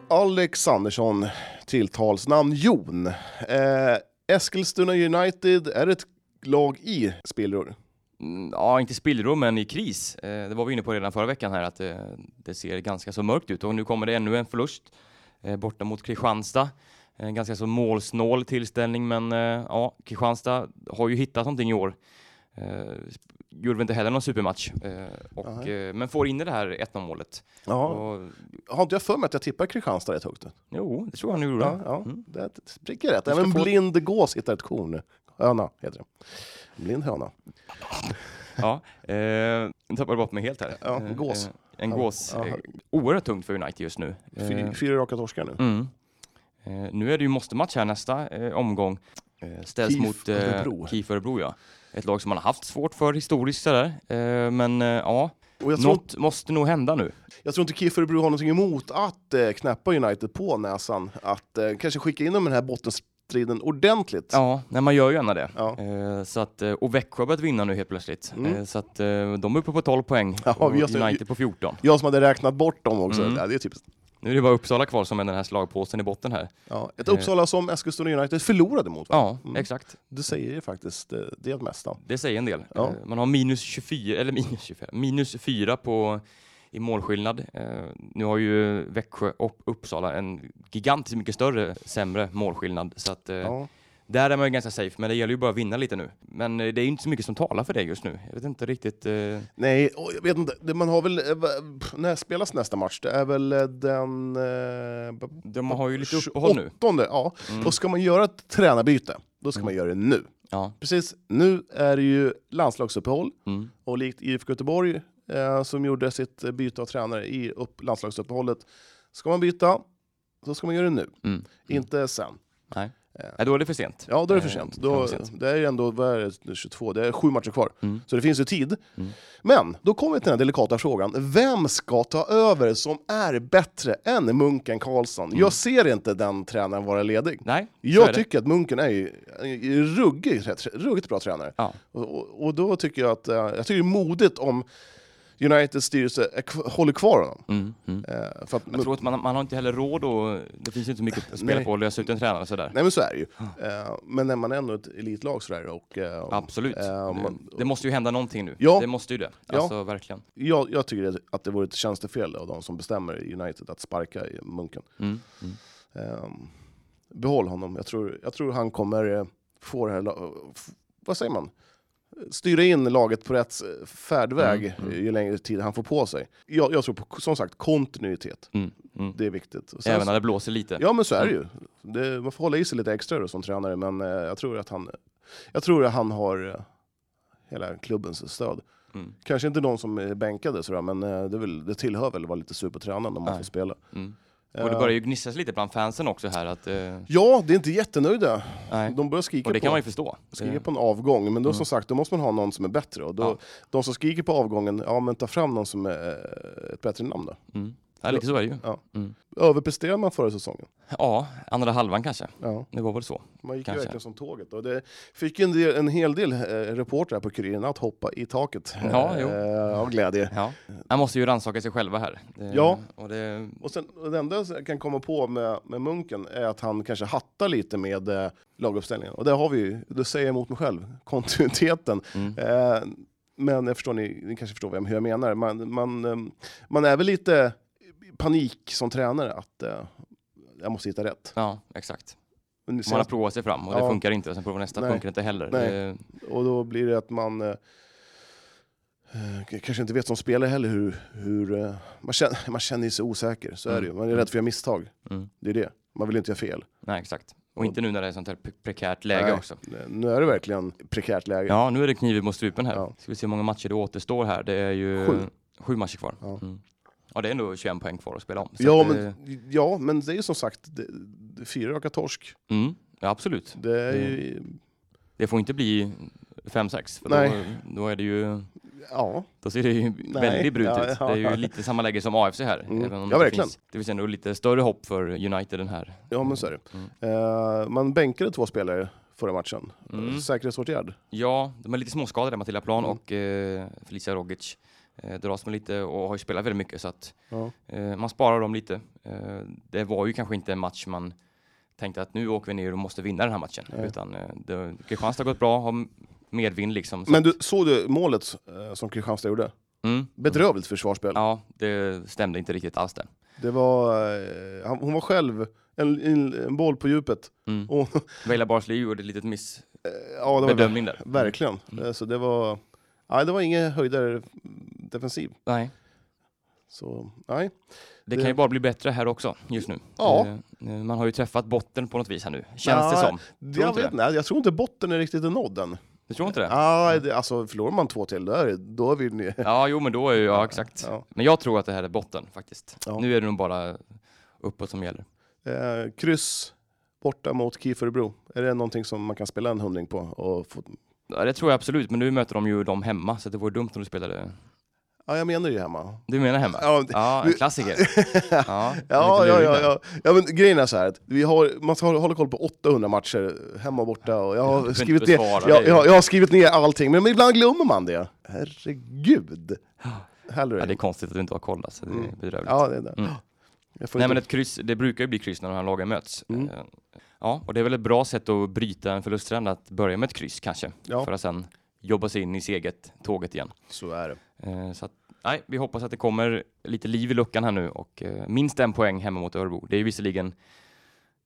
B: Alexandersson, tilltalsnamn Jon. Eh, Eskilstuna United är ett lag i spillror.
A: Mm, Ja, inte spillror, men i kris. Eh, Det var vi inne på redan förra veckan här, att eh, det ser ganska så mörkt ut. Och nu kommer det ännu en förlust eh, borta mot Kristianstad. En ganska så målsnål tillställning, men eh, ja, Kristianstad har ju hittat någonting i år. Eh, sp- Gjorde väl inte heller någon supermatch, eh, och,
B: Nej.
A: eh, men får in i det här 1-0 målet.
B: Ja.
A: Och,
B: Har inte jag för mig att jag tippar Kristianstad rätt högt?
A: jo, det tror jag nu gjorde.
B: Ja, ja.
A: Mm.
B: Det prickar rätt.
A: Du ska
B: Även
A: få-
B: blind gås hittar ett korn. Höna heter det. Blind höna.
A: Ja, eh, nu tappade jag bort mig helt här.
B: Ja, en
A: Eh,
B: gås.
A: eh, En
B: Ja,
A: gås.
B: ja.
A: eh, Oerhört tungt för United just nu. Eh,
B: Fy, fyra raka torskar nu.
A: Mm. Eh, nu är det ju måste-match här nästa eh, omgång. Eh, ställs
B: KIF
A: mot eh,
B: Örebro.
A: KIF Örebro. Ja. Ett lag som man har haft svårt för historiskt sådär. Eh, men eh, ja,
B: Och jag tror,
A: något måste nog hända nu.
B: jag tror inte KIF Örebro har någonting emot att eh, knäppa United på näsan. Att eh, kanske skicka in dem i den här bottenstriden ordentligt.
A: Ja, nej, man gör ju gärna det.
B: Ja.
A: Eh, så att, eh, och Växjö har börjat vinna nu helt plötsligt.
B: Mm.
A: Eh, så att, eh, de är uppe på 12 poäng
B: Ja,
A: och
B: just det.
A: United på 14.
B: Jag som hade räknat bort dem också.
A: Mm.
B: Ja, det är typiskt.
A: Nu är det bara Uppsala kvar som är den här slagpåsen i botten här.
B: Ja,
A: Eh.
B: ett Uppsala som Eskilstuna United förlorade mot. Va?
A: Ja,
B: Mm.
A: exakt.
B: Det säger ju faktiskt eh, det mesta.
A: Det säger en del.
B: Ja.
A: Eh, Man har minus 24, eller minus 24, minus 4 på, i målskillnad. Eh, Nu har ju Växjö och Uppsala en gigantiskt mycket större, sämre målskillnad. Så att, eh,
B: Ja.
A: där är man ju ganska safe, men det gäller ju bara att vinna lite nu. Men eh, det är ju inte så mycket som talar för det just nu. Jag vet inte riktigt. eh,
B: Nej, och jag vet inte. det- Man har väl... eh, va- pff, När spelas nästa match? Det är väl eh, den... Eh, b-
A: De har ju lite uppehåll nu.
B: 28, ja.
A: Mm.
B: Då ska man göra ett tränarbyte. Då ska man göra det nu.
A: Ja.
B: Precis, nu är det ju landslagsuppehåll.
A: Mm.
B: Och likt IFK Göteborg, eh, som gjorde sitt eh, byte av tränare i upp, landslagsuppehållet, ska man byta, så ska man göra det nu.
A: Mm.
B: Inte sen.
A: Nej, då är det för sent.
B: Ja, då är det för
A: Eh,
B: sent.
A: kan vara
B: Då,
A: för sent.
B: det är ju ändå vad är det, 22, det är sju matcher kvar.
A: Mm.
B: Så det finns ju tid.
A: Mm.
B: Men då kommer vi till den här delikata frågan. Vem ska ta över som är bättre än Munken Karlsson? Jag ser inte den tränaren vara ledig.
A: Nej, Mm. så är
B: Jag
A: det.
B: tycker att Munken är ju en ruggigt, trä- ruggigt bra tränare.
A: Ja.
B: Och, och, och då tycker jag att eh, jag tycker det är modigt om Uniteds styrelse är kv- håller kvar honom.
A: Mm. Mm.
B: Eh, för att,
A: Jag tror att man, man har inte heller råd och det finns ju inte så mycket att spela
B: Nej.
A: på och lösa ut en tränare och sådär.
B: Nej men så är det ju. Eh, men när man är ändå ett elitlag sådär och... eh,
A: Absolut.
B: eh,
A: det,
B: man-
A: det måste ju hända någonting nu.
B: Ja.
A: Det måste ju det.
B: Ja.
A: Alltså verkligen.
B: Jag, jag tycker det- att det vore ett tjänstefel av de som bestämmer i United att sparka i Munken.
A: Mm. Mm.
B: Ehm, behåll honom. Jag tror, jag tror han kommer eh, få det här... la- f- Vad säger man? Styra in laget på rätt eh, färdväg
A: Mm, mm.
B: eh, ju längre tid han får på sig. Jag, jag tror på, som sagt, kontinuitet.
A: Mm. Mm.
B: Det är viktigt. Och sen-
A: Även när det blåser lite.
B: Ja men så är det ju. Det, man får hålla i sig lite extra då, som tränare, men eh, jag tror att han, jag tror att han har eh, hela klubbens stöd.
A: Mm.
B: Kanske inte någon som är bänkade sådär, men eh, det, är väl, det tillhör väl att vara lite sur på tränaren om man
A: Nej.
B: får spela.
A: Mm. Och det
B: Eh,
A: börjar ju gnisslas lite bland fansen också här att... Eh,
B: Ja, det är inte jättenöjda.
A: nej.
B: De börjar skrika,
A: Och det kan
B: på,
A: man ju förstå.
B: skrika
A: Det-
B: på en avgång, men då
A: Mm.
B: som sagt, då måste man ha någon som är bättre. Och då,
A: Ja.
B: De som skriker på avgången, ja men ta fram någon som är eh, ett bättre namn då.
A: Mm. Ja, lite så är det ju.
B: Ja.
A: Mm.
B: Överpresterade man förra säsongen?
A: Ja, andra halvan kanske.
B: Ja.
A: Det var väl så.
B: Man gick ju
A: Kanske.
B: verkligen som tåget. Och det fick ju en, del, en hel del eh, reportrar på Kuriren att hoppa i taket
A: Ja, jo.
B: eh, av glädje.
A: Ja. Man måste ju rannsaka sig själva här. Det-
B: Ja.
A: Och det,
B: Och sen, och det enda jag kan komma på med, med Munken är att han kanske hattar lite med eh, laguppställningen. Och det har vi ju, det säger jag emot mig själv, kontinuiteten.
A: mm.
B: Eh, ehm, men jag förstår, ni, ni kanske förstår vem, hur jag menar. Man, man, eh, man är väl lite panik som tränare att eh, jag måste hitta rätt.
A: Ja, exakt.
B: Men nu
A: Man har
B: senast,
A: provat sig fram och det
B: Ja.
A: funkar inte. Och sen provar nästa,
B: Nej.
A: funkar inte heller.
B: Nej.
A: Det,
B: och då blir det att man eh, eh, k- kanske inte vet som spelare heller hur... hur eh, man, känner, man känner sig osäker, så är det ju. Man är rädd för att göra misstag.
A: Mm.
B: Det är det. Man vill inte göra fel.
A: nej, exakt. Och inte nu när det är sånt här pre- prekärt läge
B: Nej.
A: också.
B: Nu är det verkligen prekärt läge.
A: Ja, nu är det kniv mot strupen här.
B: Ja.
A: Ska vi se hur många matcher det återstår här. Det är ju
B: Sju.
A: sju matcher kvar.
B: Ja.
A: Mm. ja, det är ändå 21 poäng kvar att spela om. Så
B: Ja
A: att,
B: men,
A: eh,
B: ja, men det är ju som sagt det, det, fyra raka torsk.
A: Mm, ja, absolut.
B: Det är ju...
A: Mm. Det får inte bli 5-6. För då,
B: Nej.
A: då är det ju...
B: Ja,
A: Då ser det ju väldigt brutet
B: ja,
A: ut.
B: ja,
A: det är ju
B: ja.
A: lite samma läge som AFC här.
B: Mm.
A: Även om
B: Ja,
A: det,
B: verkligen.
A: finns, det finns ändå lite större hopp för United den här.
B: ja men så är det.
A: Mm.
B: Eh, man bänkade två spelare förra matchen.
A: Mm.
B: Säkerhetsåtgärd.
A: Ja, de är lite småskadade, Matilda Plan
B: Mm.
A: och eh, Felicia Rogic. Eh, dras med lite och har ju spelat väldigt mycket så att
B: Ja.
A: eh, man sparar dem lite. Eh, det var ju kanske inte en match man tänkte att nu åker vi ner och måste vinna den här matchen.
B: Nej.
A: Utan eh, det- Kristianstad har gått bra, har m- medvind liksom. så
B: Men du,
A: att-
B: såg du målet eh, som Kristianstad gjorde?
A: Mm.
B: Bedrövligt försvarsspel.
A: Ja, det stämde inte riktigt alls där.
B: Det var, eh, han, hon var själv, en, en, en boll på djupet.
A: Mm.
B: Och,
A: Vejla Barsli gjorde ett litet miss,
B: ja, det var
A: Bedömning där.
B: Verkligen.
A: Mm.
B: Eh, Så det var, nej, det var ingen höjdare defensiv.
A: Nej,
B: Så, nej.
A: det,
B: Det-
A: kan ju bara bli bättre här också just nu.
B: Ja.
A: Eh, eh, man har ju träffat botten på något vis här nu, känns det
B: Ja,
A: som. du
B: Jag,
A: inte
B: vet,
A: det?
B: nej, jag tror inte botten är riktigt nådd än.
A: Du tror inte det?
B: Ja, det, alltså förlorar man två till, då är, det- då vill ni...
A: Ja, jo men då är ju, ja exakt.
B: Ja.
A: Men jag tror att det här är botten faktiskt.
B: Ja.
A: Nu är det nog bara uppåt som gäller.
B: Eh, kryss borta mot KIF Örebro. Är det någonting som man kan spela en hundring på? Och få...
A: Ja, det tror jag absolut, men nu möter de ju dem hemma så det vore dumt om du spelade.
B: Ja, jag menar ju hemma.
A: Du menar hemma? Ja,
B: Ja, det-
A: en klassiker. Ja,
B: ja,
A: lite
B: ja,
A: lurigt
B: ja,
A: där.
B: ja. ja men grejen är så här, att vi har, man ska hålla koll på 800 matcher hemma och borta. Och jag, har
A: inte
B: skrivit ner,
A: besvara
B: jag,
A: det.
B: jag, jag har skrivit ner allting, men ibland glömmer man det. Herregud!
A: Ja, det är
B: Halloween.
A: konstigt att du inte har kollat, så det är bedrövligt.
B: Ja, det är det.
A: Mm.
B: Jag får
A: Nej
B: inte-
A: men ett kryss, det brukar ju bli kryss när de här lagen möts.
B: Mm.
A: Eh, Ja, och det är väl ett bra sätt att bryta en förlusttrend att börja med ett kryss kanske,
B: Ja.
A: för att sen jobba sig in i seget, tåget igen.
B: Så är det.
A: Eh, Så att, nej, vi hoppas att det kommer lite liv i luckan här nu och eh, minst en poäng hemma mot Örebro. Det är ju visserligen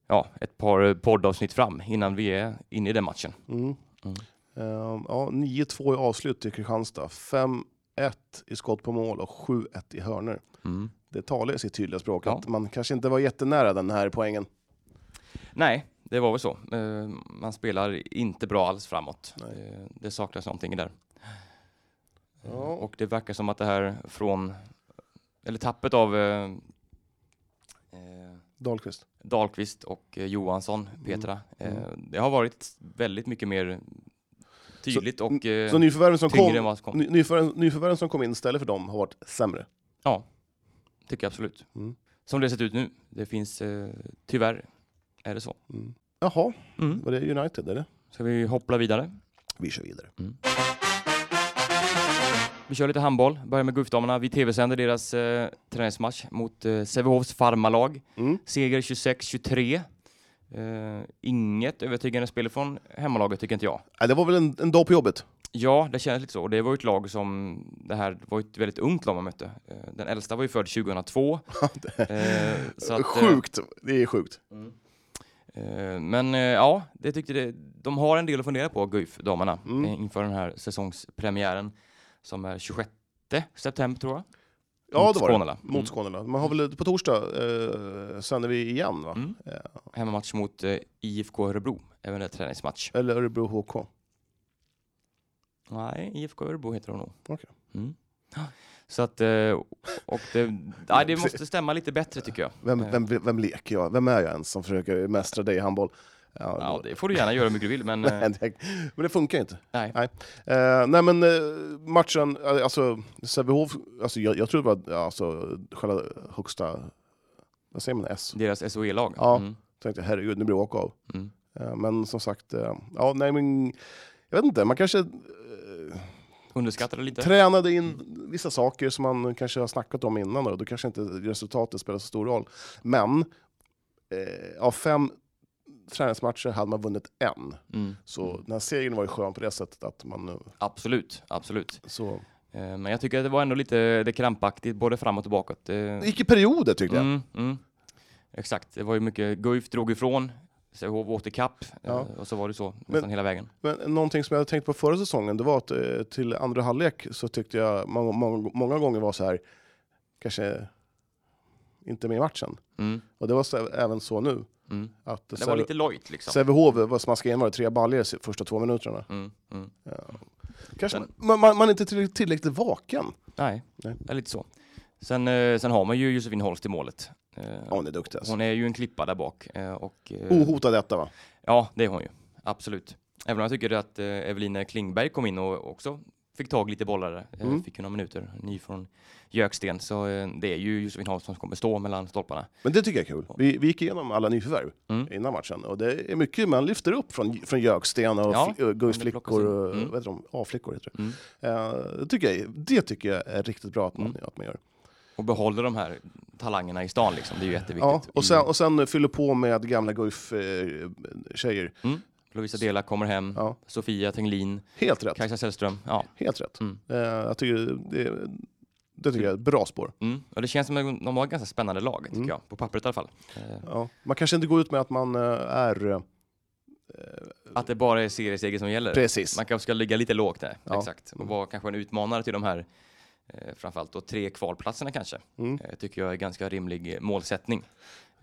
A: ja, ett par eh, poddavsnitt fram innan vi är inne i den matchen.
B: Mm.
A: Mm.
B: Ehm, ja, 9-2 i avslut till Kristianstad, 5-1 i skott på mål och 7-1 i hörnor.
A: Mm.
B: Det talar i sitt tydliga språk
A: Ja.
B: att man kanske inte var jättenära den här poängen.
A: Nej, det var väl så. Eh, Man spelar inte bra alls framåt.
B: Nej.
A: Eh, Det saknas någonting där. Eh,
B: Ja.
A: Och det verkar som att det här från, eller tappet av eh, eh,
B: Dahlqvist.
A: Dahlqvist och eh, Johansson,
B: Mm.
A: Petra, eh, det har varit väldigt mycket mer tydligt och eh,
B: Så nyförvärven som,
A: tyngre än
B: kom,
A: vad som kom.
B: ny, nyförvärven, nyförvärven som kom in istället för dem har varit sämre.
A: Ja, tycker jag absolut.
B: Mm.
A: Som det har sett ut nu. Det finns, eh, tyvärr, är det så.
B: Mm. Jaha,
A: Mm.
B: var det United eller?
A: Ska vi hoppla vidare?
B: Vi kör vidare.
A: Vi kör lite handboll. Börjar med Guifdamerna. Vi tv-sänder deras eh, träningsmatch mot eh, Sävehofs farmalag.
B: Mm.
A: Seger 26-23. Eh, inget övertygande spel från hemmalaget tycker inte jag.
B: Nej, det var väl en, en dag på jobbet?
A: Ja, det känns lite så. Och det var ju ett lag som, det här var ju ett väldigt ungt lag man mötte. Eh, den äldsta var ju född 2002. Eh, så att, eh,
B: sjukt, det är sjukt.
A: Eh, Men eh, ja, det tyckte det, de har en del att fundera på, Guif, damerna,
B: Mm.
A: eh, inför den här säsongspremiären som är 26 september tror jag.
B: Ja,
A: Mot
B: det var det.
A: Skånela. Mm.
B: Mot Skånela. Man har väl på torsdag eh, sänder vi igen va?
A: Mm.
B: Eh,
A: Hemmamatch mot eh, IFK Örebro, även det träningsmatch.
B: eller Örebro HK.
A: Nej, IFK Örebro heter de nog.
B: Okej.
A: Mm. Så att, eh, och det, nej, det måste stämma lite bättre tycker jag.
B: Vem, vem, vem leker jag? Vem är jag ens som försöker mästra dig i handboll? Ja,
A: Ja, det får du gärna göra hur mycket du vill, men eh,
B: men det funkar inte.
A: nej.
B: Nej, eh, nej men eh, matchen, eh, alltså Sävehof, alltså, jag, jag tror det var ja, alltså, själva högsta, vad säger man, S?
A: Deras SOE-lag.
B: Ja.
A: Mm.
B: Tänkte jag, herregud, nu blir det walkout.
A: Mm.
B: Eh, men som sagt, eh, ja, nej men, jag vet inte, man kanske eh,
A: Underskattade lite.
B: tränade in vissa saker som man kanske har snackat om innan och då kanske inte resultatet spelar så stor roll. Men eh, av fem träningsmatcher hade man vunnit en.
A: Mm.
B: Så den här serien var ju skön på det sättet att man... eh,
A: Absolut, absolut.
B: Så,
A: Eh, Eh, Men jag tycker att det var ändå lite det krampaktigt, både fram och tillbaka. Det-
B: Det gick i perioder tyckte jag.
A: Mm, mm. Exakt, det var ju mycket Guif drog ifrån, Sävehof åkte ikapp eh,
B: Ja.
A: och så var det så nästan hela vägen.
B: Men någonting som jag hade tänkt på förra säsongen, det var att eh, till andra halvlek så tyckte jag många, många, många gånger var så här, kanske inte med i matchen.
A: Mm,
B: Och det var så, även så nu.
A: mm.
B: Att
A: Det var lite lojt liksom.
B: Sävehof var smaskade in var det tre baljor de första två minuterna.
A: Mm, mm.
B: Kanske
A: Men-
B: man, man, man är inte tillräckligt, tillräckligt vaken.
A: Nej,
B: Nej.
A: det är lite så. Sen, eh, sen har man ju Josefin Holst i målet. Eh,
B: Ja, hon är duktig alltså.
A: Hon är ju en klippa där bak. eh, Och, eh,
B: Ohotad detta va?
A: Ja, det är hon ju. Absolut. Även om jag tycker att eh, Evelina Klingberg kom in och också fick tag i lite bollar. där. Eh,
B: Mm.
A: Fick ju några minuter, ny från Jöksten. Så eh, det är ju Josefin Holst som kommer stå mellan stolparna.
B: Men det tycker jag är kul. Vi, vi gick igenom alla nyförvärv
A: Mm.
B: innan matchen och det är mycket man lyfter upp från, från Jöksten och,
A: Ja,
B: fl- och Guifs
A: det plockas
B: flickor
A: in.
B: och
A: Mm.
B: vad heter de? A-flickor heter det.
A: Mm.
B: Eh, det, tycker jag, är- det tycker jag är riktigt bra att man,
A: Mm.
B: att man gör.
A: Och behåller de här talangerna i stan liksom. Det är ju
B: Ja,
A: jätteviktigt. Mm.
B: och, sen, och sen fyller på med gamla Guif-tjejer.
A: Mm. Lovisa Dela kommer hem.
B: Ja.
A: Sofia Tenglin.
B: Helt rätt.
A: Kajsa Sällström. Ja.
B: Helt rätt.
A: Mm.
B: Eh, jag tycker det, det tycker jag är ett bra spår.
A: Mm. Och det känns som att de har ett ganska spännande lag, tycker
B: Mm.
A: jag. På pappret i alla fall. Eh,
B: Ja. Man kanske inte går ut med att man eh, är... eh,
A: Att det bara är serieseger som gäller.
B: Precis.
A: Man kanske ska ligga lite lågt där,
B: Ja.
A: exakt. Och vara kanske en utmanare till de här, eh, framförallt då tre kvalplatserna kanske.
B: Mm.
A: Eh, tycker jag är ganska rimlig eh, målsättning.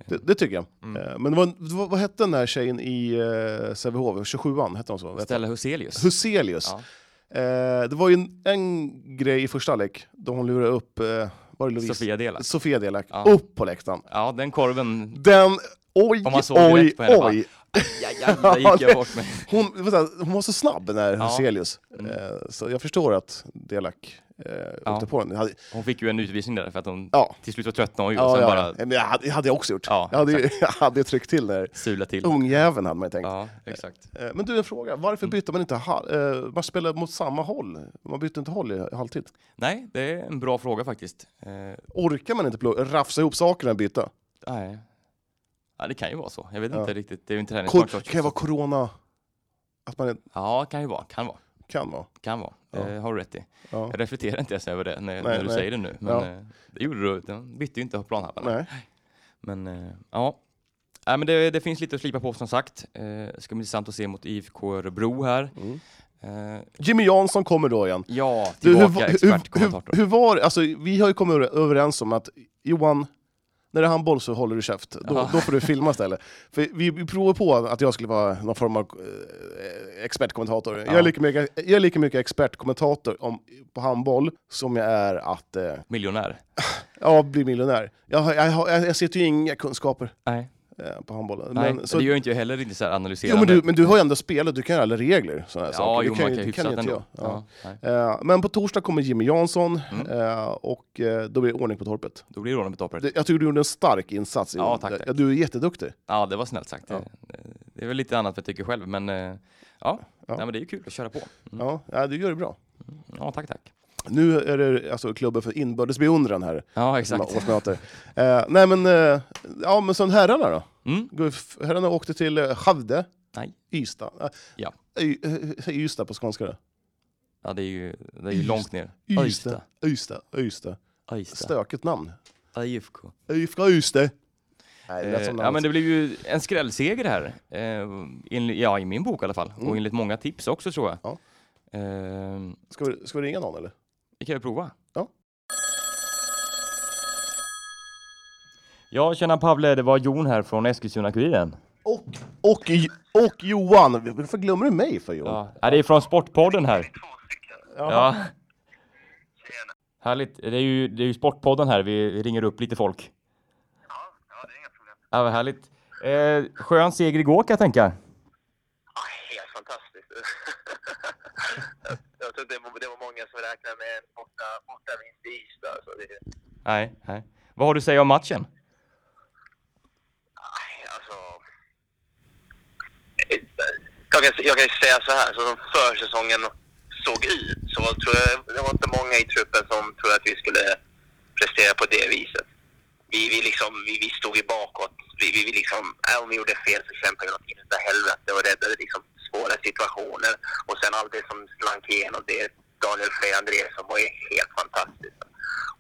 B: Det, det tycker jag.
A: Mm.
B: Eh, men vad, vad, vad hette den där tjejen i eh, Sävehof? 27an, hette hon så? Vad hette
A: Stella Huselius.
B: hon? Huselius.
A: Ja.
B: Eh, det var ju en, en grej i första lek då hon lurade upp eh, var det Lovisa?
A: Sofia Delak.
B: Sofia Delak
A: Ja.
B: upp på läktaren.
A: Ja, den korven.
B: Den, oj,
A: Om man såg
B: oj,
A: direkt på henne, bara,
B: oj.
A: Aj, aj, där gick jag bort med.
B: Hon, det var så här, hon var så snabb den där
A: Ja. Mm.
B: Huselius. Eh, så jag förstår att Delak eh,
A: Ja.
B: åkte på den. Jag hade,
A: Hon fick ju en utvisning där för att hon
B: ja,
A: till slut var tröttnade och,
B: ja,
A: sen
B: ja.
A: bara
B: Men det hade, det hade jag också gjort.
A: Ja,
B: jag, hade, ju- jag hade ju tryckt till där.
A: sula till.
B: Oh. Ungjäveln hade man ju tänkt.
A: Ja, exakt.
B: Eh, Men du, en fråga.
A: Mm.
B: Varför bytte man inte hal- eh, Man spelade mot samma håll. Man bytte inte håll i halvtid.
A: Nej, det är en bra fråga faktiskt. Eh,
B: Orkar man inte plo- rafsa ihop sakerna och byta?
A: nej. Ja, det kan ju vara så. Jag vet
B: Ja.
A: inte riktigt. Det är ju inte
B: Kor-
A: träningsmatch.
B: kan
A: också,
B: det
A: så-
B: vara corona? Att man inte
A: Ja, kan ju vara. Kan vara.
B: kan vara.
A: Kan vara.
B: Ja.
A: Eh, har du rätt i.
B: Ja.
A: Jag reflekterar inte ens över det när,
B: Nej,
A: när du
B: nej.
A: säger det nu. Men
B: Ja.
A: eh, det gjorde du. Den bytte ju inte planhalvan.
B: Nej.
A: Men eh, ja. Nej, men det, det finns lite att slipa på som sagt. Eh, Det ska bli intressant att se mot IFK Örebro här.
B: Mm.
A: Eh,
B: Jimmy Jansson kommer då igen.
A: ja,
B: Du, hur,
A: tillbaka
B: va- hur, hur,
A: expertkommentator.
B: hur var alltså, Vi har ju kommit över- överens om att Johan, när det är handboll så håller du käft. Då,
A: Ja.
B: då får du filma istället. För vi, vi provar på att jag skulle vara någon form av eh, expertkommentator. Jag, är
A: Ja.
B: lika mycket, jag är lika mycket expertkommentator om, på handboll som jag är att eh,
A: Miljonär.
B: ja, bli miljonär. Jag, har- jag, har- jag, jag sitter ju inga kunskaper
A: Nej,
B: eh, på handbollen.
A: nej.
B: Men, så,
A: det gör ju inte jag heller inte så här analyserande.
B: jo, men, du, men du har ju ändå spelat, du kan ju alla regler. Såna här
A: ja,
B: saker.
A: jo,
B: det kan,
A: man
B: ju-
A: kan
B: det kan ju
A: hyfsat
B: inte jag.
A: ändå.
B: Ja.
A: Ja, nej.
B: Eh, Men på torsdag kommer Jimmy Jansson
A: Mm.
B: eh, och eh, då blir det ordning på torpet.
A: Då blir det rånet på toppret.
B: Det- Jag tycker du gjorde en stark insats. i
A: Ja,
B: år.
A: tack, tack.
B: Ja, Du är jätteduktig.
A: Ja, det var snällt sagt.
B: Ja.
A: Det, det- det är väl lite annat vad jag tycker själv, men eh, ja.
B: Ja.
A: Nej, men det är ju kul att köra på. Mm.
B: Ja, ja, du gör det bra.
A: Ja, tack, tack.
B: Nu är det alltså klubben för inbördes beundran här.
A: Ja,
B: som har
A: exakt.
B: Årsmöte. Eh, nej men, eh, ja men sen herrarna då?
A: Mm.
B: Guif, herrarna åkte till eh, Skövde,
A: Nej.
B: Ystad. Eh,
A: Ja.
B: Ö- eh, Säg Ystad på skånska då.
A: Ja, det är ju, det är ju långt ner.
B: Ystad, Ystad, Ystad.
A: Öysta.
B: Stökigt namn.
A: IFK.
B: IFK Ystad. Nej, det lät
A: Eh,
B: som
A: ja, men
B: namn.
A: det blev ju en skrällseger här. Eh, enli- ja, i min bok i alla fall.
B: Mm.
A: Och enligt många tips också tror jag.
B: Ja.
A: Eh,
B: Ska vi- ska vi ringa någon eller?
A: vi kan ju prova.
B: Ja.
D: Ja, tjena Pavle, det var Jon här från Eskilstuna-Kuriren.
B: Och, och, och Johan! Varför glömmer du mig för Johan?
D: Ja. ja, det är från Sportpodden här. Ja. Härligt. Det är, ju, det är ju Sportpodden här. Vi ringer upp lite folk. Ja, ja det är inga problem. Ja, vad härligt. Eh, skön seger igår kan jag tänka.
C: Ja, helt fantastiskt. jag, jag tror inte det var, det var många som räknade med en borta, borta vinst i Ystad. Så det,
D: Nej, nej. Vad har du att säga om matchen?
C: aj, alltså, jag, kan, jag kan ju säga så här, så som försäsongen såg ut så var- tror jag det var inte många i truppen som trodde att vi skulle prestera på det viset. Vi, vi, liksom, vi, vi stod ju bakåt. Vi, vi, vi liksom, äh, om vi gjorde fel så kämpade vi något in utav helvete och räddade liksom svåra situationer. Och sen allt det som slank igenom det
E: Daniel Frey Andreasson var ju helt fantastisk.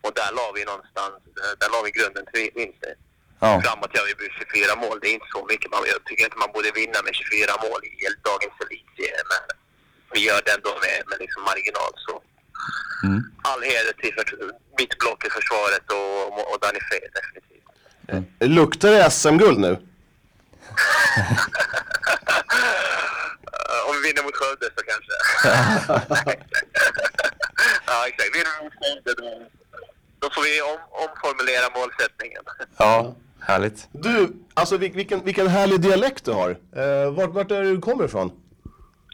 E: Och där la vi någonstans, eh, där la vi grunden till vinsten.
D: Ja.
E: Framåt gör vi 24 mål, det är inte så mycket. Man, jag tycker inte man borde vinna med 24 mål i dagens elitserie, men vi gör det ändå med, med liksom marginal. Så.
D: Mm.
E: All heder till för, mitt block i försvaret och, och Danny Frey definitivt.
B: Luktar det SM-guld nu?
E: Eh, om vi vinner mot Skövde så kanske. ja, exakt. Vinner vi mot Skövde då, då får vi om, omformulera målsättningen.
D: ja, härligt.
B: Du, alltså vil- vilken, vilken härlig dialekt du har. Eh, vart, vart är det du kommer ifrån?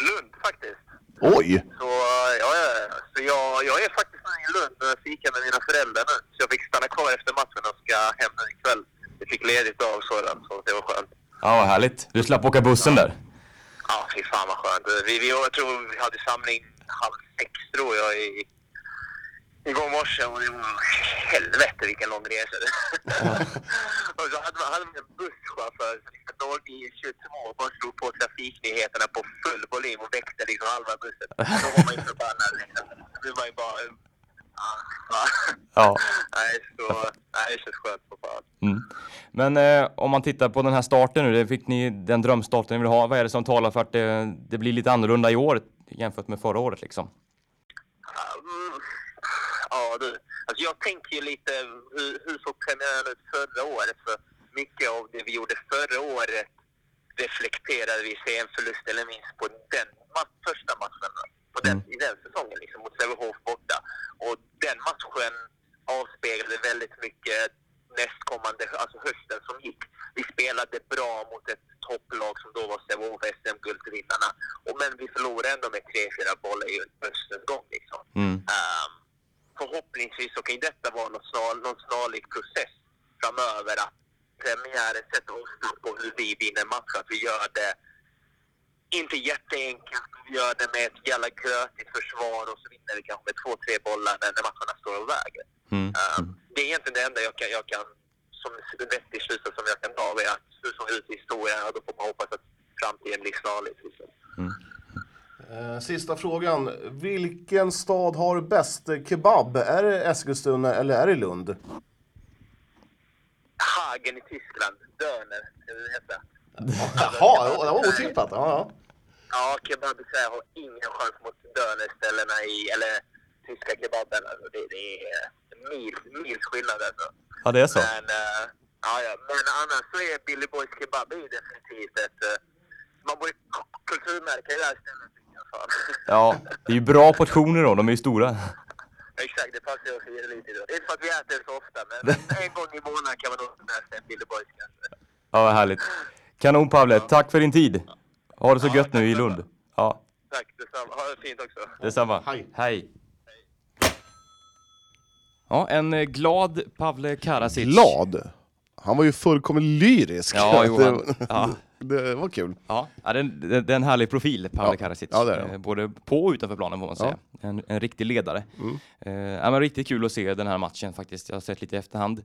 E: Lund faktiskt.
B: Oj!
E: Så, eh, ja, ja, så jag, jag är faktiskt nu i Lund och fikar med mina föräldrar nu. Så jag fick stanna kvar efter matchen och ska hem nu ikväll. Jag fick ledigt av sådant, så det var skönt.
D: Ja, vad härligt. Du slapp åka bussen där.
E: Ja, fy fan vad skönt. Vi, vi, jag tror vi hade samling halv sex, tror jag, i, igår morse. Och det var helvete vilken lång resa det Och så hade man, hade man en busschaufför som liksom låg i 22 och bara slog på trafiknyheterna på full volym och väckte liksom halva bussen. Då var man ju förbannad. liksom. Då blev man ju bara... ah, ah.
D: Ja.
E: Nej, så... Nej, det känns skönt på fan.
D: Mm. Men eh, om man tittar på den här starten nu, det fick ni den drömstarten ni vill ha. Vad är det som talar för att det, det blir lite annorlunda i år jämfört med förra året liksom?
E: Mm. Ja, du. Alltså jag tänker ju lite, hur, hur såg premiären ut förra året? För mycket av det vi gjorde förra året reflekterade vi sig en förlust eller minst på den ma- första matchen på den, i den säsongen, liksom, mot Sävehof borta. Och den matchen avspeglade väldigt mycket nästkommande, alltså hösten som gick. Vi spelade bra mot ett topplag som då var Sävehof, SM-guldvinnarna. Och Men vi förlorade ändå med 3-4 bollar i höstens gång. Liksom.
D: Mm.
E: Ehm, förhoppningsvis så kan ju detta vara någon, snar, någon snarlik process framöver. Att premiären sätter oss på hur vi vinner matcher. Att vi gör det inte jätteenkelt. Vi gör det med ett jävla grötigt försvar och så vinner vi kanske med två, tre bollar när när matcherna står och väger.
D: Mm.
E: Ehm, det är egentligen det enda jag kan, jag kan som vettig slutsats som jag kan dra är att hur som ut i historien, ja, då får man hoppas att framtiden blir snarlik. Liksom.
B: Eh, sista frågan. Vilken stad har bäst kebab? Är det Eskilstuna eller är det Lund?
E: Hagen i Tyskland, Döner, ska det heta.
B: Jaha, det var otippat. Ja, ja.
E: Ja, kebab i Sverige har ingen chans mot dönerställena i, eller tyska kebaben. Alltså, det, det är mil, mils skillnad alltså.
D: Ja, det är så.
E: Men, eh, ja, ja. Men annars så är Billy Boys kebab är ju definitivt ett... eh, man borde k- kulturmärka det här stället tycker jag. Fan.
D: Ja, det är ju bra portioner då. De är ju stora.
E: Exakt, det passar ju oss lite idag. Inte för att vi äter det så ofta, men en gång i månaden kan man nog lära sig en Billy Boys kanske.
D: Ja, vad härligt. Kanon Pavle, tack för din tid. Ha det så gött nu i Lund. Ja,
E: Tack detsamma. Ha det fint också.
D: detsamma.
B: Hej.
D: Hej.
A: Ja, en eh, glad Pavle Karasic.
B: Glad? Han var ju fullkomligt lyrisk.
A: Ja, jo,
B: det,
A: han- ja.
B: det var kul.
A: Ja, ja, det, är en- det, det är en härlig profil, Pavel
B: Ja.
A: Karasic.
B: Ja, det är det.
A: Eh, Både på och utanför planen får man säga. En, en riktig ledare.
B: Mm.
A: Eh, ja, men riktigt kul att se den här matchen faktiskt. Jag har sett lite i efterhand.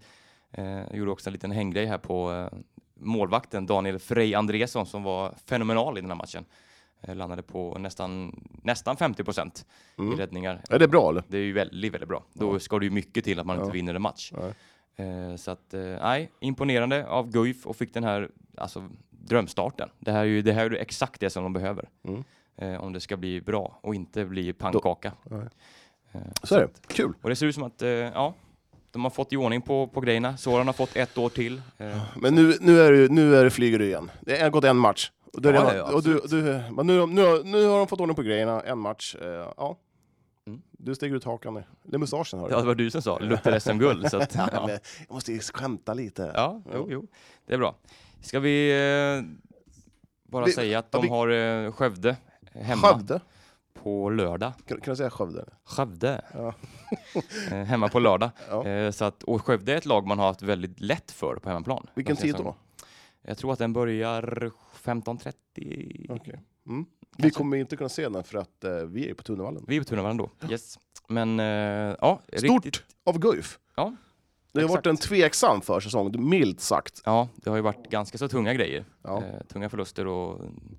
A: Eh, gjorde också en liten hänggrej här på eh, målvakten Daniel Frey Andresson som var fenomenal i den här matchen. Eh, landade på nästan, nästan 50 procent
B: Mm.
A: i räddningar.
B: Är det bra eller?
A: Det är ju väldigt, väldigt bra. Då ska det ju mycket till att man inte vinner en match. Eh, Så att, eh, nej, imponerande av Guif och fick den här alltså, drömstarten. Det här är ju, det här är ju exakt det som de behöver.
B: Mm.
A: Eh, Om det ska bli bra och inte bli pannkaka.
B: Så är det. Kul.
A: Och det ser ut som att, eh, ja, de har fått i ordning på, på grejerna. Soran har fått ett år till. Eh,
B: Men nu, nu, är det, nu är det flyger du igen. Det har gått en match. Och, då är
A: Ja,
B: det-
A: ja, ja,
B: och du, du, men nu, nu, har- nu har de fått ordning på grejerna, en match. Eh, ja. Du sticker ut hakan nu. Det är mustaschen hör du.
A: Mm. Ja, det var du som sa, luktar SM-guld. så att, ja.
B: Men Jag måste ju skämta lite.
A: Ja, jo, jo. Det är bra. Ska vi eh, bara
B: Vi-
A: säga att
B: ja,
A: de
B: vi-
A: har eh, Skövde hemma
B: Skövde?
A: på lördag.
B: Kan, kan du säga Skövde?
A: Skövde.
B: Ja.
A: Eh, hemma på lördag.
B: Ja.
A: Eh, så att, och Skövde är ett lag man har haft väldigt lätt för på hemmaplan.
B: Vilken
A: De senaste
B: tid då?
A: gångerna. Jag tror att den börjar 15.30.
B: Okej. Mm. Vi kommer inte kunna se den för att eh, vi är på Tunavallen.
A: Vi är på Tunavallen då. Yes. Men eh, ja,
B: Stort
A: riktigt.
B: av Guif.
A: Ja,
B: Det har varit
A: exakt.
B: en tveksam försäsong, milt sagt.
A: ja, det har ju varit ganska så tunga grejer.
B: Ja.
A: Eh, tunga förluster och mm,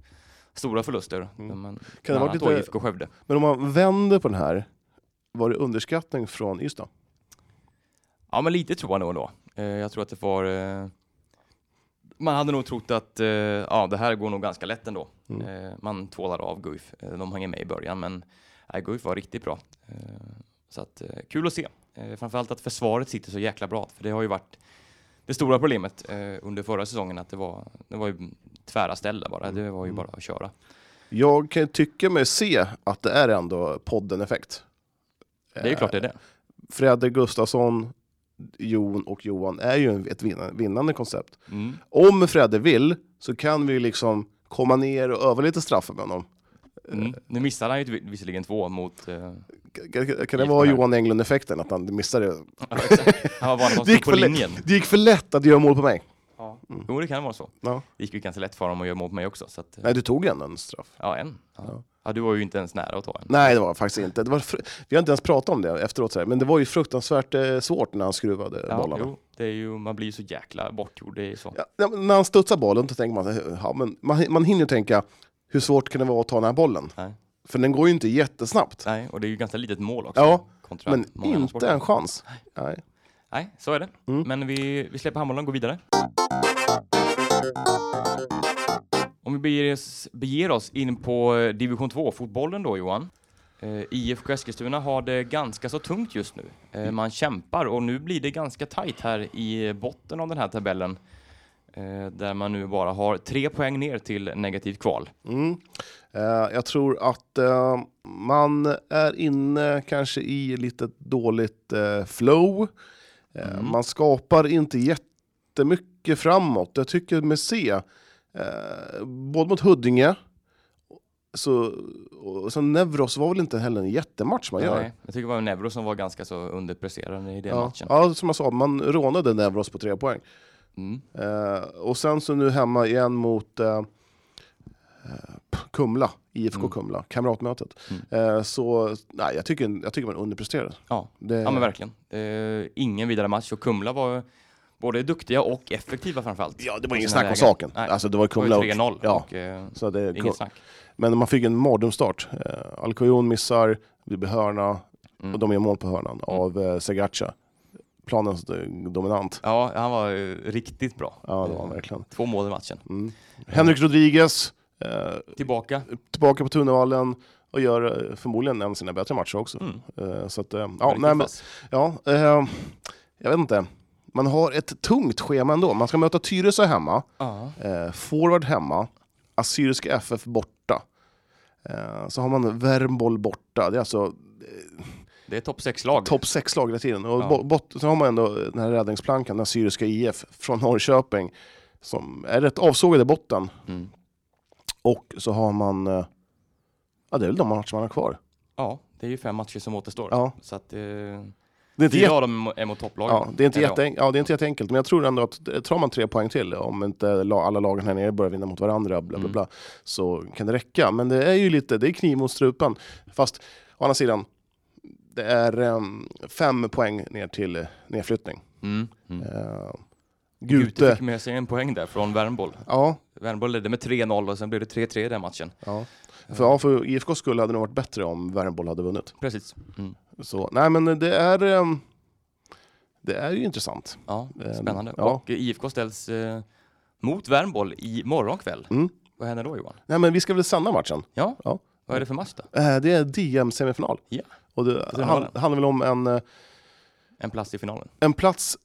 A: stora förluster. Men,
B: det
A: kan
B: varit
A: det
B: lite-
A: IFK Skövde.
B: Men om man vänder på den här, Var det underskattning från Ystad?
A: Ja, men lite tror jag nog ändå. Eh, jag tror att det var... Eh, man hade nog trott att eh, ja, det här går nog ganska lätt ändå.
B: Mm.
A: Eh, man tvålar av Guif. Eh, de hänger med i början, men nej, Guif var riktigt bra. Eh, så att, eh, kul att se. Eh, framförallt att försvaret sitter så jäkla bra, för det har ju varit det stora problemet eh, under förra säsongen, att det var, det var ju tvära ställ där bara.
B: Mm.
A: Det var ju bara att köra.
B: Jag kan ju tycka mig se att det är ändå podden-effekt.
A: Det är ju klart det är det.
B: Fredde Gustafsson, Jon och Johan är ju en- ett vinnande, vinnande koncept.
A: Mm.
B: Om Fredde vill så kan vi liksom komma ner och öva lite straffar med honom.
A: Mm. Nu missade han ju vi- visserligen två mot... Eh,
B: Kan- Kan, kan det
A: Gick
B: vara
A: det här.
B: Johan Englund-effekten, att han missade?
A: han var van att
B: Det
A: de stod
B: gick,
A: på
B: för lätt-
A: linjen.
B: det gick för lätt att göra mål på mig.
A: Jo, det kan vara så.
B: Ja.
A: Det gick ju ganska lätt för honom att göra mål på mig också. Så att,
B: Nej, du tog ändå en straff.
A: ja, en. Ja.
B: Ja.
A: Ja. du var ju inte ens nära att ta en.
B: Nej, det var faktiskt inte. Det var fr- vi har inte ens pratat om det efteråt, så här. men det var ju fruktansvärt eh, svårt när han skruvade
A: Ja,
B: bollarna.
A: jo, det är ju, man blir ju så jäkla bortgjord. Det är ju så.
B: Ja, ja, men när han studsar bollen så tänker man, ja, men man, man hinner ju tänka, hur svårt kan det vara att ta den här bollen?
A: Nej.
B: För den går ju inte jättesnabbt.
A: Nej, och det är ju ganska litet mål också.
B: Ja,
A: kontra
B: Men
A: många andra
B: inte
A: sporter.
B: en chans. Nej.
A: Nej, så är det.
B: Mm.
A: Men vi, vi släpper handbollen och går vidare. Om vi beger oss, beger oss in på eh, division 2-fotbollen då Johan. Eh, IFK Eskilstuna har det ganska så tungt just nu. Eh,
B: Mm.
A: man kämpar och nu blir det ganska tajt här i botten av den här tabellen. Eh, där man nu bara har tre poäng ner till negativt kval.
B: Mm. Eh, jag tror att eh, man är inne kanske i lite dåligt eh, flow. Eh,
A: Mm.
B: Man skapar inte jättemycket framåt. Jag tycker mig se, eh, både mot Huddinge, så, och sen Nevros var väl inte heller en jättematch man gör.
A: Nej, jag tycker det var Neuro som var ganska så underpresterande i den
B: Ja.
A: matchen.
B: ja, som jag sa, man rånade Nevros på tre poäng.
A: Mm.
B: Eh, och sen så nu hemma igen mot eh, eh, Kumla, IFK
A: Mm.
B: Kumla, kamratmötet. Eh, så nej, jag tycker, jag tycker man underpresterar.
A: Ja.
B: Det,
A: Ja men verkligen. Eh, ingen vidare match och Kumla var både duktiga och effektiva framförallt.
B: Ja, det var ingen
A: På sina
B: snack om
A: lägen.
B: saken.
A: Nej,
B: Alltså, det var
A: det var
B: Kumla
A: ju 3-0.
B: och... Ja.
A: Och, eh,
B: Så det,
A: inget snack.
B: men man fick en mardrömsstart. Eh, Alcoyon missar, det blir hörna
A: Mm.
B: och de gör mål på hörnan av eh, Segacha. Planens eh, dominant.
A: Ja, han var eh, riktigt bra.
B: Ja, det var
A: Eh,
B: han verkligen.
A: Två mål i matchen.
B: Mm. Henrik Rodriguez, eh,
A: Tillbaka.
B: tillbaka på Tunavallen och gör eh, förmodligen en av sina bättre matcher också.
A: Mm.
B: Eh, Så att, eh, ja,
A: Riktigt
B: nej, men,
A: vass.
B: ja, eh, jag vet inte. Man har ett tungt schema ändå. Man ska möta Tyresö hemma,
A: Ja.
B: eh, Forward hemma, Assyriska FF borta. Eh, så har man Värmboll borta. Det är alltså
A: Det är topp 6-lag.
B: topp 6-lag hela tiden. Och
A: Ja.
B: bo- bot, så har man ändå den här räddningsplankan, den Assyriska IF från Norrköping, som är rätt avsågade i botten.
A: Mm.
B: Och så har man, eh, ja det är väl de matcher man har kvar.
A: Ja, det är ju fem matcher som återstår.
B: Ja.
A: Så att, eh,
B: Det är inte
A: fyra av dem är mot topplagen.
B: Ja, det är, inte
A: Eller
B: jätteenk- ja, det är inte jätteenkelt, men jag tror ändå att eh, tar man tre poäng till, om inte la- alla lagen här nere börjar vinna mot varandra, bla, bla,
A: Mm.
B: bla, så kan det räcka. Men det är ju lite, det är kniv mot strupen. Fast å andra sidan, det är em, fem poäng ner till eh, nedflyttning.
A: Mm. Mm.
B: Eh,
A: Gute
B: Gute,
A: fick med sig en poäng där från Värmboll.
B: ja,
A: Värmboll ledde med 3-0 och sen blev det 3-3 i den matchen.
B: ja. För, ja, för IFKs skull hade det nog varit bättre om Värmboll hade vunnit.
A: Precis. Mm.
B: Så, nej men det är, em, det är ju intressant.
A: Ja,
B: Ehm,
A: spännande.
B: ja.
A: Och eh, IFK ställs eh, mot Värmboll i morgon kväll.
B: Mm.
A: Vad händer då Johan?
B: Nej men vi ska väl sända matchen?
A: Ja,
B: Ja.
A: vad är det för match då?
B: Eh, Det är DM-semifinal.
A: Ja.
B: Och det
A: Finalen.
B: han- handlar väl om en, eh,
A: En plats i finalen.
B: en plats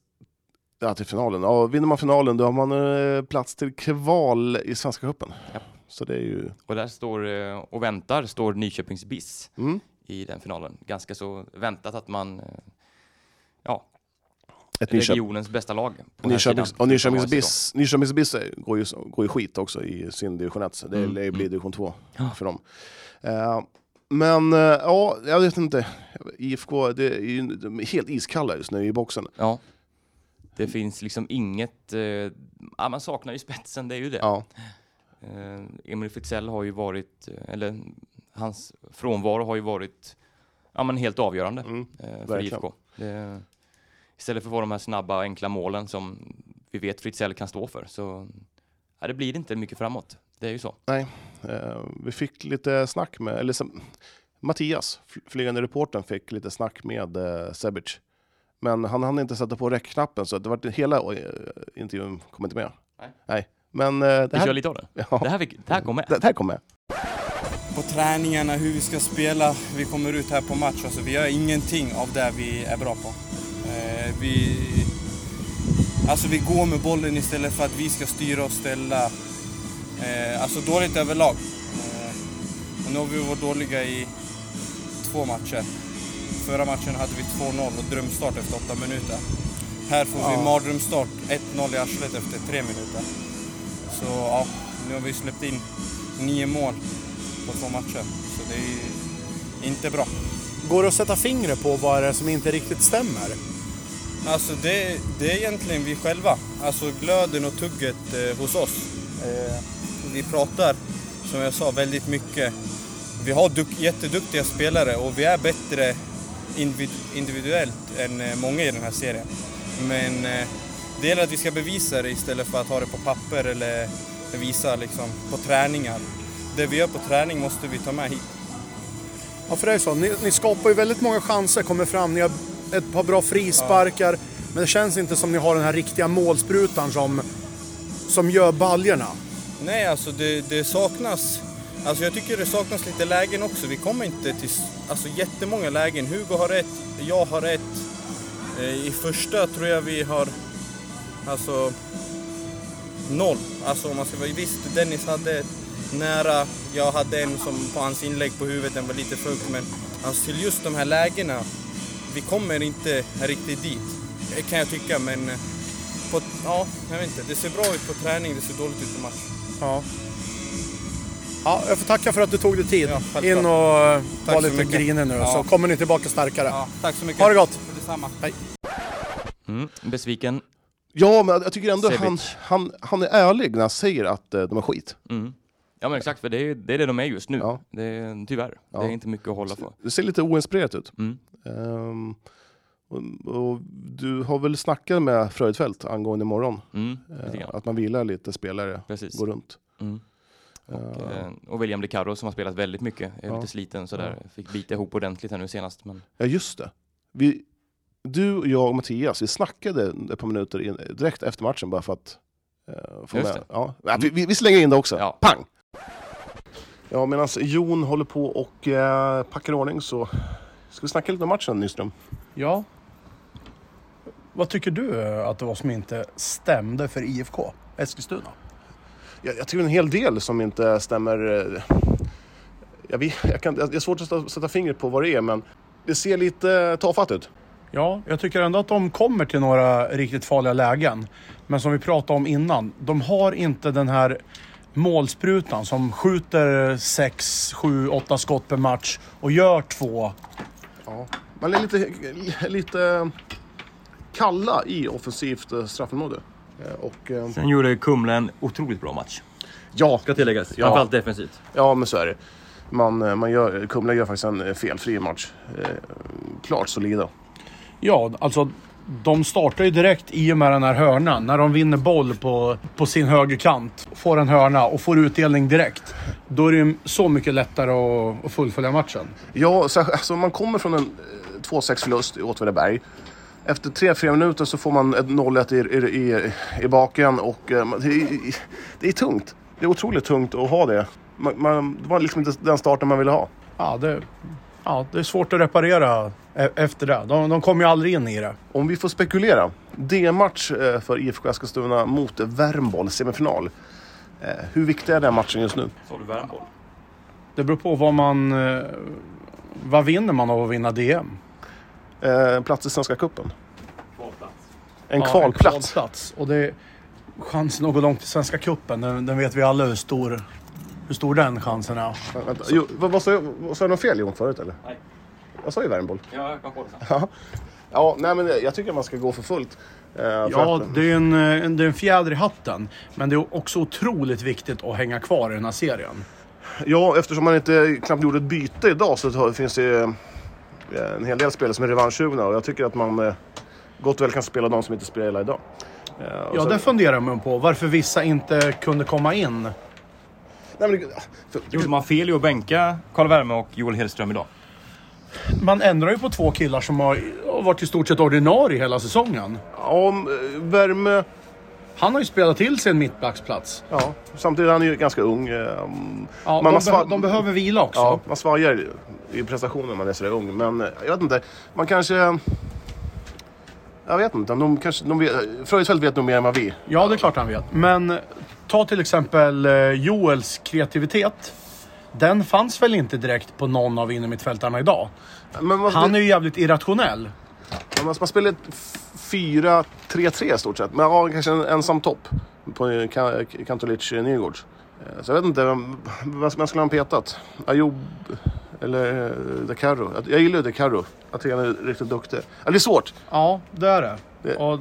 B: ja, till finalen. Ja, vinner man finalen då har man eh, plats till kval i Svenska cupen.
A: Ja.
B: Så det är ju...
A: Och där står eh, och väntar står Nyköpings BIS
B: Mm.
A: i den finalen. Ganska så väntat att man eh, ja,
B: Ett Nyköp-
A: regionens bästa lag. på den här
B: Nyköpings,
A: sidan.
B: och Nyköpings
A: Förutom AIK då.
B: BIS, Nyköpings BIS är- går, ju, går ju skit också i sin division 1. Så det
A: Mm.
B: lär ju bli division 2
A: Ja.
B: för dem. Eh, men eh, ja, jag vet inte. IFK, det är ju de är helt iskalla just nu i boxen.
A: Ja. Det finns liksom inget, eh, ja, man saknar ju spetsen, det är ju det.
B: Ja.
A: Eh, Emil Fritzell har ju varit, eh, eller hans frånvaro har ju varit ja, men helt avgörande
B: Mm.
A: eh, för
B: verkligen.
A: IFK. Det, istället för att få de här snabba enkla målen som vi vet Fritzell kan stå för så ja, det blir inte mycket framåt. Det är ju så.
B: Eh, vi fick lite snack med, eller så, Mattias, fl- flygande reportern, fick lite snack med eh, Sebic. Men han hann inte sätta på räckknappen så det var hela eh, intervjun kom inte med.
A: Nej.
B: Men eh, det
A: Vi kör
B: här,
A: lite av det.
B: ja,
A: Det här, fick, det här kom med.
B: det här kom med.
F: på träningarna, hur vi ska spela. Vi kommer ut här på match. Alltså, vi gör ingenting av det vi är bra på. Eh, vi, alltså, vi går med bollen istället för att vi ska styra och ställa. Eh, alltså dåligt överlag. Eh, och nu har vi varit dåliga i två matcher. Förra matchen hade vi 2-0 och drömstart efter åtta minuter. Här får vi mardrömsstart 1-0 i arslet efter tre minuter. Så ja, nu har vi släppt in nio mål på två matcher. Så det är inte bra.
G: Går det att sätta fingret på vad det är som inte riktigt stämmer?
F: Alltså det, det är egentligen vi själva. Alltså glöden och tugget eh, hos oss. Eh, vi pratar, som jag sa, väldigt mycket. Vi har duk- jätteduktiga spelare och vi är bättre individ- individuellt än eh, många i den här serien. Men eh, det gäller att vi ska bevisa det istället för att ha det på papper eller visa liksom, på träningar. Det vi gör på träning måste vi ta med hit.
G: Ja, för det är ju så. Ni, ni skapar ju väldigt många chanser, kommer fram, ni har ett par bra frisparkar. Men det känns inte som ni har den här riktiga målsprutan som, som gör baljorna.
F: Nej, alltså det, det saknas. Alltså jag tycker det saknas lite lägen också. Vi kommer inte till s- alltså jättemånga lägen. Hugo har rätt, jag har rätt. Eh, I första tror jag vi har alltså noll. Alltså om man ska vara visst, Dennis hade ett nära. Jag hade en som på hans inlägg på huvudet, den var lite fukt. Men alltså till just de här lägena, vi kommer inte riktigt dit. eh, Kan jag tycka, men eh, på, ja, jag vet inte. Det ser bra ut på träning, det ser dåligt ut på match.
G: Ja. Ja, jag får tacka för att du tog dig tid.
F: Ja, självklart.
G: In och eh,
F: Tack
G: var
F: så
G: lite
F: mycket.
G: grinig nu
F: Ja.
G: så kommer ni tillbaka starkare.
F: Ja, tack så mycket.
G: Ha det gott!
F: Detsamma.
A: Mm, besviken.
B: Ja, men jag tycker ändå
A: Sebic.
B: han, han, han är ärlig när han säger att eh, de är skit.
A: Mm. Ja men exakt, för det är, det är det de är just nu.
B: Ja.
A: Det är, tyvärr.
B: Ja.
A: Det är inte mycket att hålla på.
B: Det ser lite oinspirerat ut.
A: Mm.
B: Ehm, och, och du har väl snackat med Fröjdfält angående imorgon?
A: Mm,
B: eh,
A: lite grann.
B: att man vilar lite spelare,
A: Precis.
B: går runt.
A: Mm.
B: Eh,
A: Eh, Och William DeCaro som har spelat väldigt mycket, är
B: Ja.
A: lite sliten sådär. Fick bita ihop ordentligt här nu senast. Men
B: Ja, just det. Vi, du, jag och Mattias, vi snackade ett par minuter in, direkt efter matchen bara för att eh, få
A: Just
B: med.
A: det. Mm.
B: Ja. Ja, vi- vi, vi slänger in det också.
A: Ja.
B: Pang! Ja, medan Jon håller på och eh, packar i ordning så ska vi snacka lite om matchen Nyström.
G: Ja. Vad tycker du eh, att det var som inte stämde för IFK Eskilstuna?
B: Jag, jag tycker en hel del som inte stämmer. eh, Jag, vet, jag, kan, jag det är svårt att sätta- sätta fingret på vad det är, men det ser lite tafatt ut.
G: Ja, jag tycker ändå att de kommer till några riktigt farliga lägen. Men som vi pratade om innan, de har inte den här målsprutan som skjuter 6, 7, 8 skott per match och gör två.
B: Ja. Man är lite, lite kalla i offensivt eh, straffområde. Eh, Och, eh,
D: Sen gjorde Kumla en otroligt bra match.
B: ja,
D: Ska tilläggas.
B: Ja.
D: Framförallt defensivt.
B: ja, men så är det. Man, eh, man gör, Kumla gör faktiskt en eh, felfri match. Eh, klart solida.
G: Ja, alltså de startar ju direkt i och med den här hörnan. När de vinner boll på, på sin högerkant, får en hörna och får utdelning direkt. Då är det ju så mycket lättare att, att fullfölja matchen.
B: Ja, så, alltså, man kommer från en eh, 2-6 förlust i Åtvidaberg. Efter 3-4 minuter så får man ett 0-1 i, i, i, i baken och eh, man- det, är- det är tungt. Det är otroligt tungt att ha det. Man, man, det var liksom inte den starten man ville ha.
G: Ja, det, ja, det är svårt att reparera e- efter det. De, de kommer ju aldrig in i det.
B: Om vi får spekulera. D-match eh, för IFK Eskilstuna mot Värmboll, semifinal. Eh, Hur viktig är den matchen just nu?
D: Sa du värmboll?
G: Det beror på vad man... eh, Vad vinner man av att vinna DM?
B: Eh, Plats i Svenska Cupen.
D: Kvalplats.
B: En
G: Ja,
B: kvalplats.
G: kvalplats. Och det, chansen att gå långt i Svenska Cupen, den, den vet vi alla hur stor, hur stor den chansen är.
B: Vänta, jo, vad, vad, sa jag, vad sa jag något fel Jon förut eller?
D: Nej.
B: Jag sa ju Värmboll.
D: Ja, jag kom på det sen.
B: Ja, nej men jag tycker man ska gå för fullt. eh, för
G: Ja,
B: att-
G: det är, en, en, det är en fjäder i hatten. Men det är också otroligt viktigt att hänga kvar i den här serien.
B: ja, eftersom man inte knappt gjorde ett byte idag så tar- finns det ju, eh, en hel del spelare som är revanschsugna och jag tycker att man eh, gott väl kan spela de som inte spelar idag. Eh, och
G: Ja,
B: så-
G: det funderar man på. Varför vissa inte kunde komma in.
B: Nej, men, för,
D: Gjorde man fel i att bänka Karl Värme och Joel Hedström idag?
G: Man ändrar ju på två killar som har har varit i stort sett ordinarie hela säsongen.
B: om eh, värme...
G: Han har ju spelat till sig en mittbacksplats.
B: Ja, samtidigt är han ju ganska ung. eh,
G: Ja,
B: Man
G: de,
B: har svar-
G: behö- de behöver vila också.
B: Ja, man svajar i prestationen när man är sådär ung. Men eh, jag vet inte, man kanske... Jag vet inte, de kanske... De vet, Fröjsfält vet nog mer än vad vi.
G: Ja, det är klart han vet. Men ta till exempel eh, Joels kreativitet. Den fanns väl inte direkt på någon av innermittfältarna idag?
B: Men man,
G: Han är ju jävligt irrationell.
B: man, man spelar ett f- 4-3-3 i stort sett. Men ja, kanske en ensam topp på eh, Ka- Kantolic eh, Nygårds. Eh, Så jag vet inte, vem, vem vem skulle han petat? Ayoub eller eh, De Carro? Att- Jag gillar ju De Carro. Jag tycker han är riktigt duktig. Ja, det är svårt.
G: Ja, det är det.
B: Det-
G: Och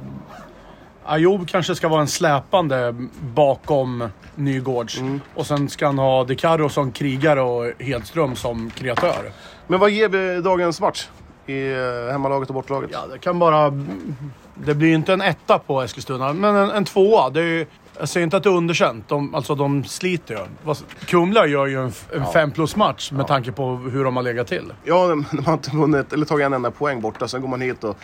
G: Ayoub kanske ska vara en släpande bakom Nygårds. Och sen ska han ha De Caro som krigare och Hedström som kreatör.
B: Men vad ger vi dagens match? I eh, hemmalaget och bortlaget?
G: Ja, det kan bara... Det blir ju inte en etta på Eskilstuna, men en, en tvåa. Det är ju, jag säger inte att det är underkänt. De, alltså, de sliter ju. Vad- Kumla gör ju en, f- en fem plus-match med tanke på hur de har legat till.
B: Ja, men de har inte vunnit eller tagit en enda poäng borta. Sen går man hit och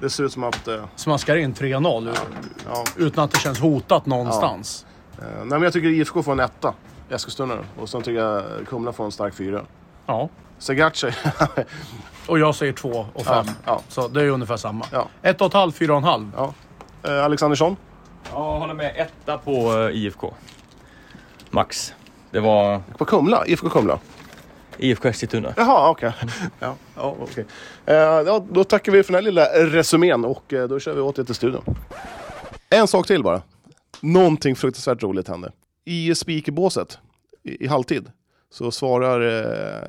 B: det ser ut som att... eh,
G: Smaskar in 3-0 ut-
B: Ja.
G: utan att det känns hotat någonstans.
B: eh, Nej, men jag tycker IFK får en etta i Eskilstuna. Och sen tycker jag Kumla får en stark fyra.
G: Ja.
B: Segaci,
G: Och jag säger två och
B: Ja,
G: fem.
B: ja.
G: Så det är ungefär samma.
B: Ja.
G: Ett och ett halvt, fyra och en halv.
B: ja. Eh, Alexandersson.
D: Ja, håller med. Etta på eh, IFK. Max. Det var
B: På Kumla? IFK Kumla? Mm.
D: IFK Eskilstuna.
B: Jaha, okej. Ja, ja, okej. Eh, ja, då tackar vi för den här lilla resumén och eh, då kör vi åter till studion. En sak till bara. Någonting fruktansvärt roligt hände. I speakerbåset i, i halvtid så svarar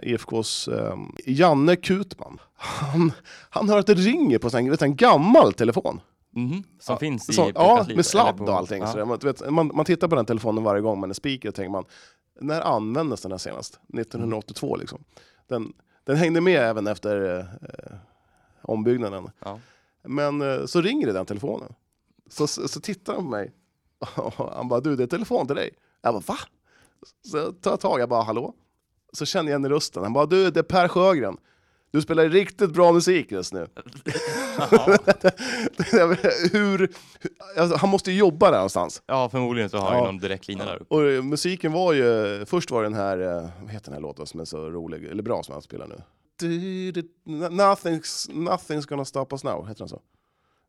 B: eh, IFKs eh, Janne Kutman. Han, han hör att det ringer på en, vet, du, en gammal telefon.
A: Mhm. Som finns i
B: Så, Mm-hmm. ja,
A: Pekkas liv,
B: med sladd
A: eller på-
B: och allting.
A: Ja.
B: sådär. man, du vet, man, man tittar på den telefonen varje gång man är speaker och tänker man, när användes den här senast?
A: Mm.
B: 1982 liksom. Den, den hängde med även efter eh, ombyggnaden.
A: Ja.
B: Men eh, så ringer det den telefonen. Så, så, så tittar han på mig. Och han bara, du det är telefon till dig. Jag bara, va? Så jag tar jag tag, jag bara, hallå? Så känner jag igen rösten. Han bara, du det är Per Sjögren. Du spelar riktigt bra musik just nu. Hur, alltså, han måste ju jobba där någonstans.
A: ja, förmodligen så har
B: Ja.
A: jag någon direktlina där uppe.
B: Och eh, musiken var ju, först var den här, eh, vad heter den här låten som är så rolig, eller bra som han spelar nu? Du- du- Nothing's, nothing's gonna stop us now, heter den så?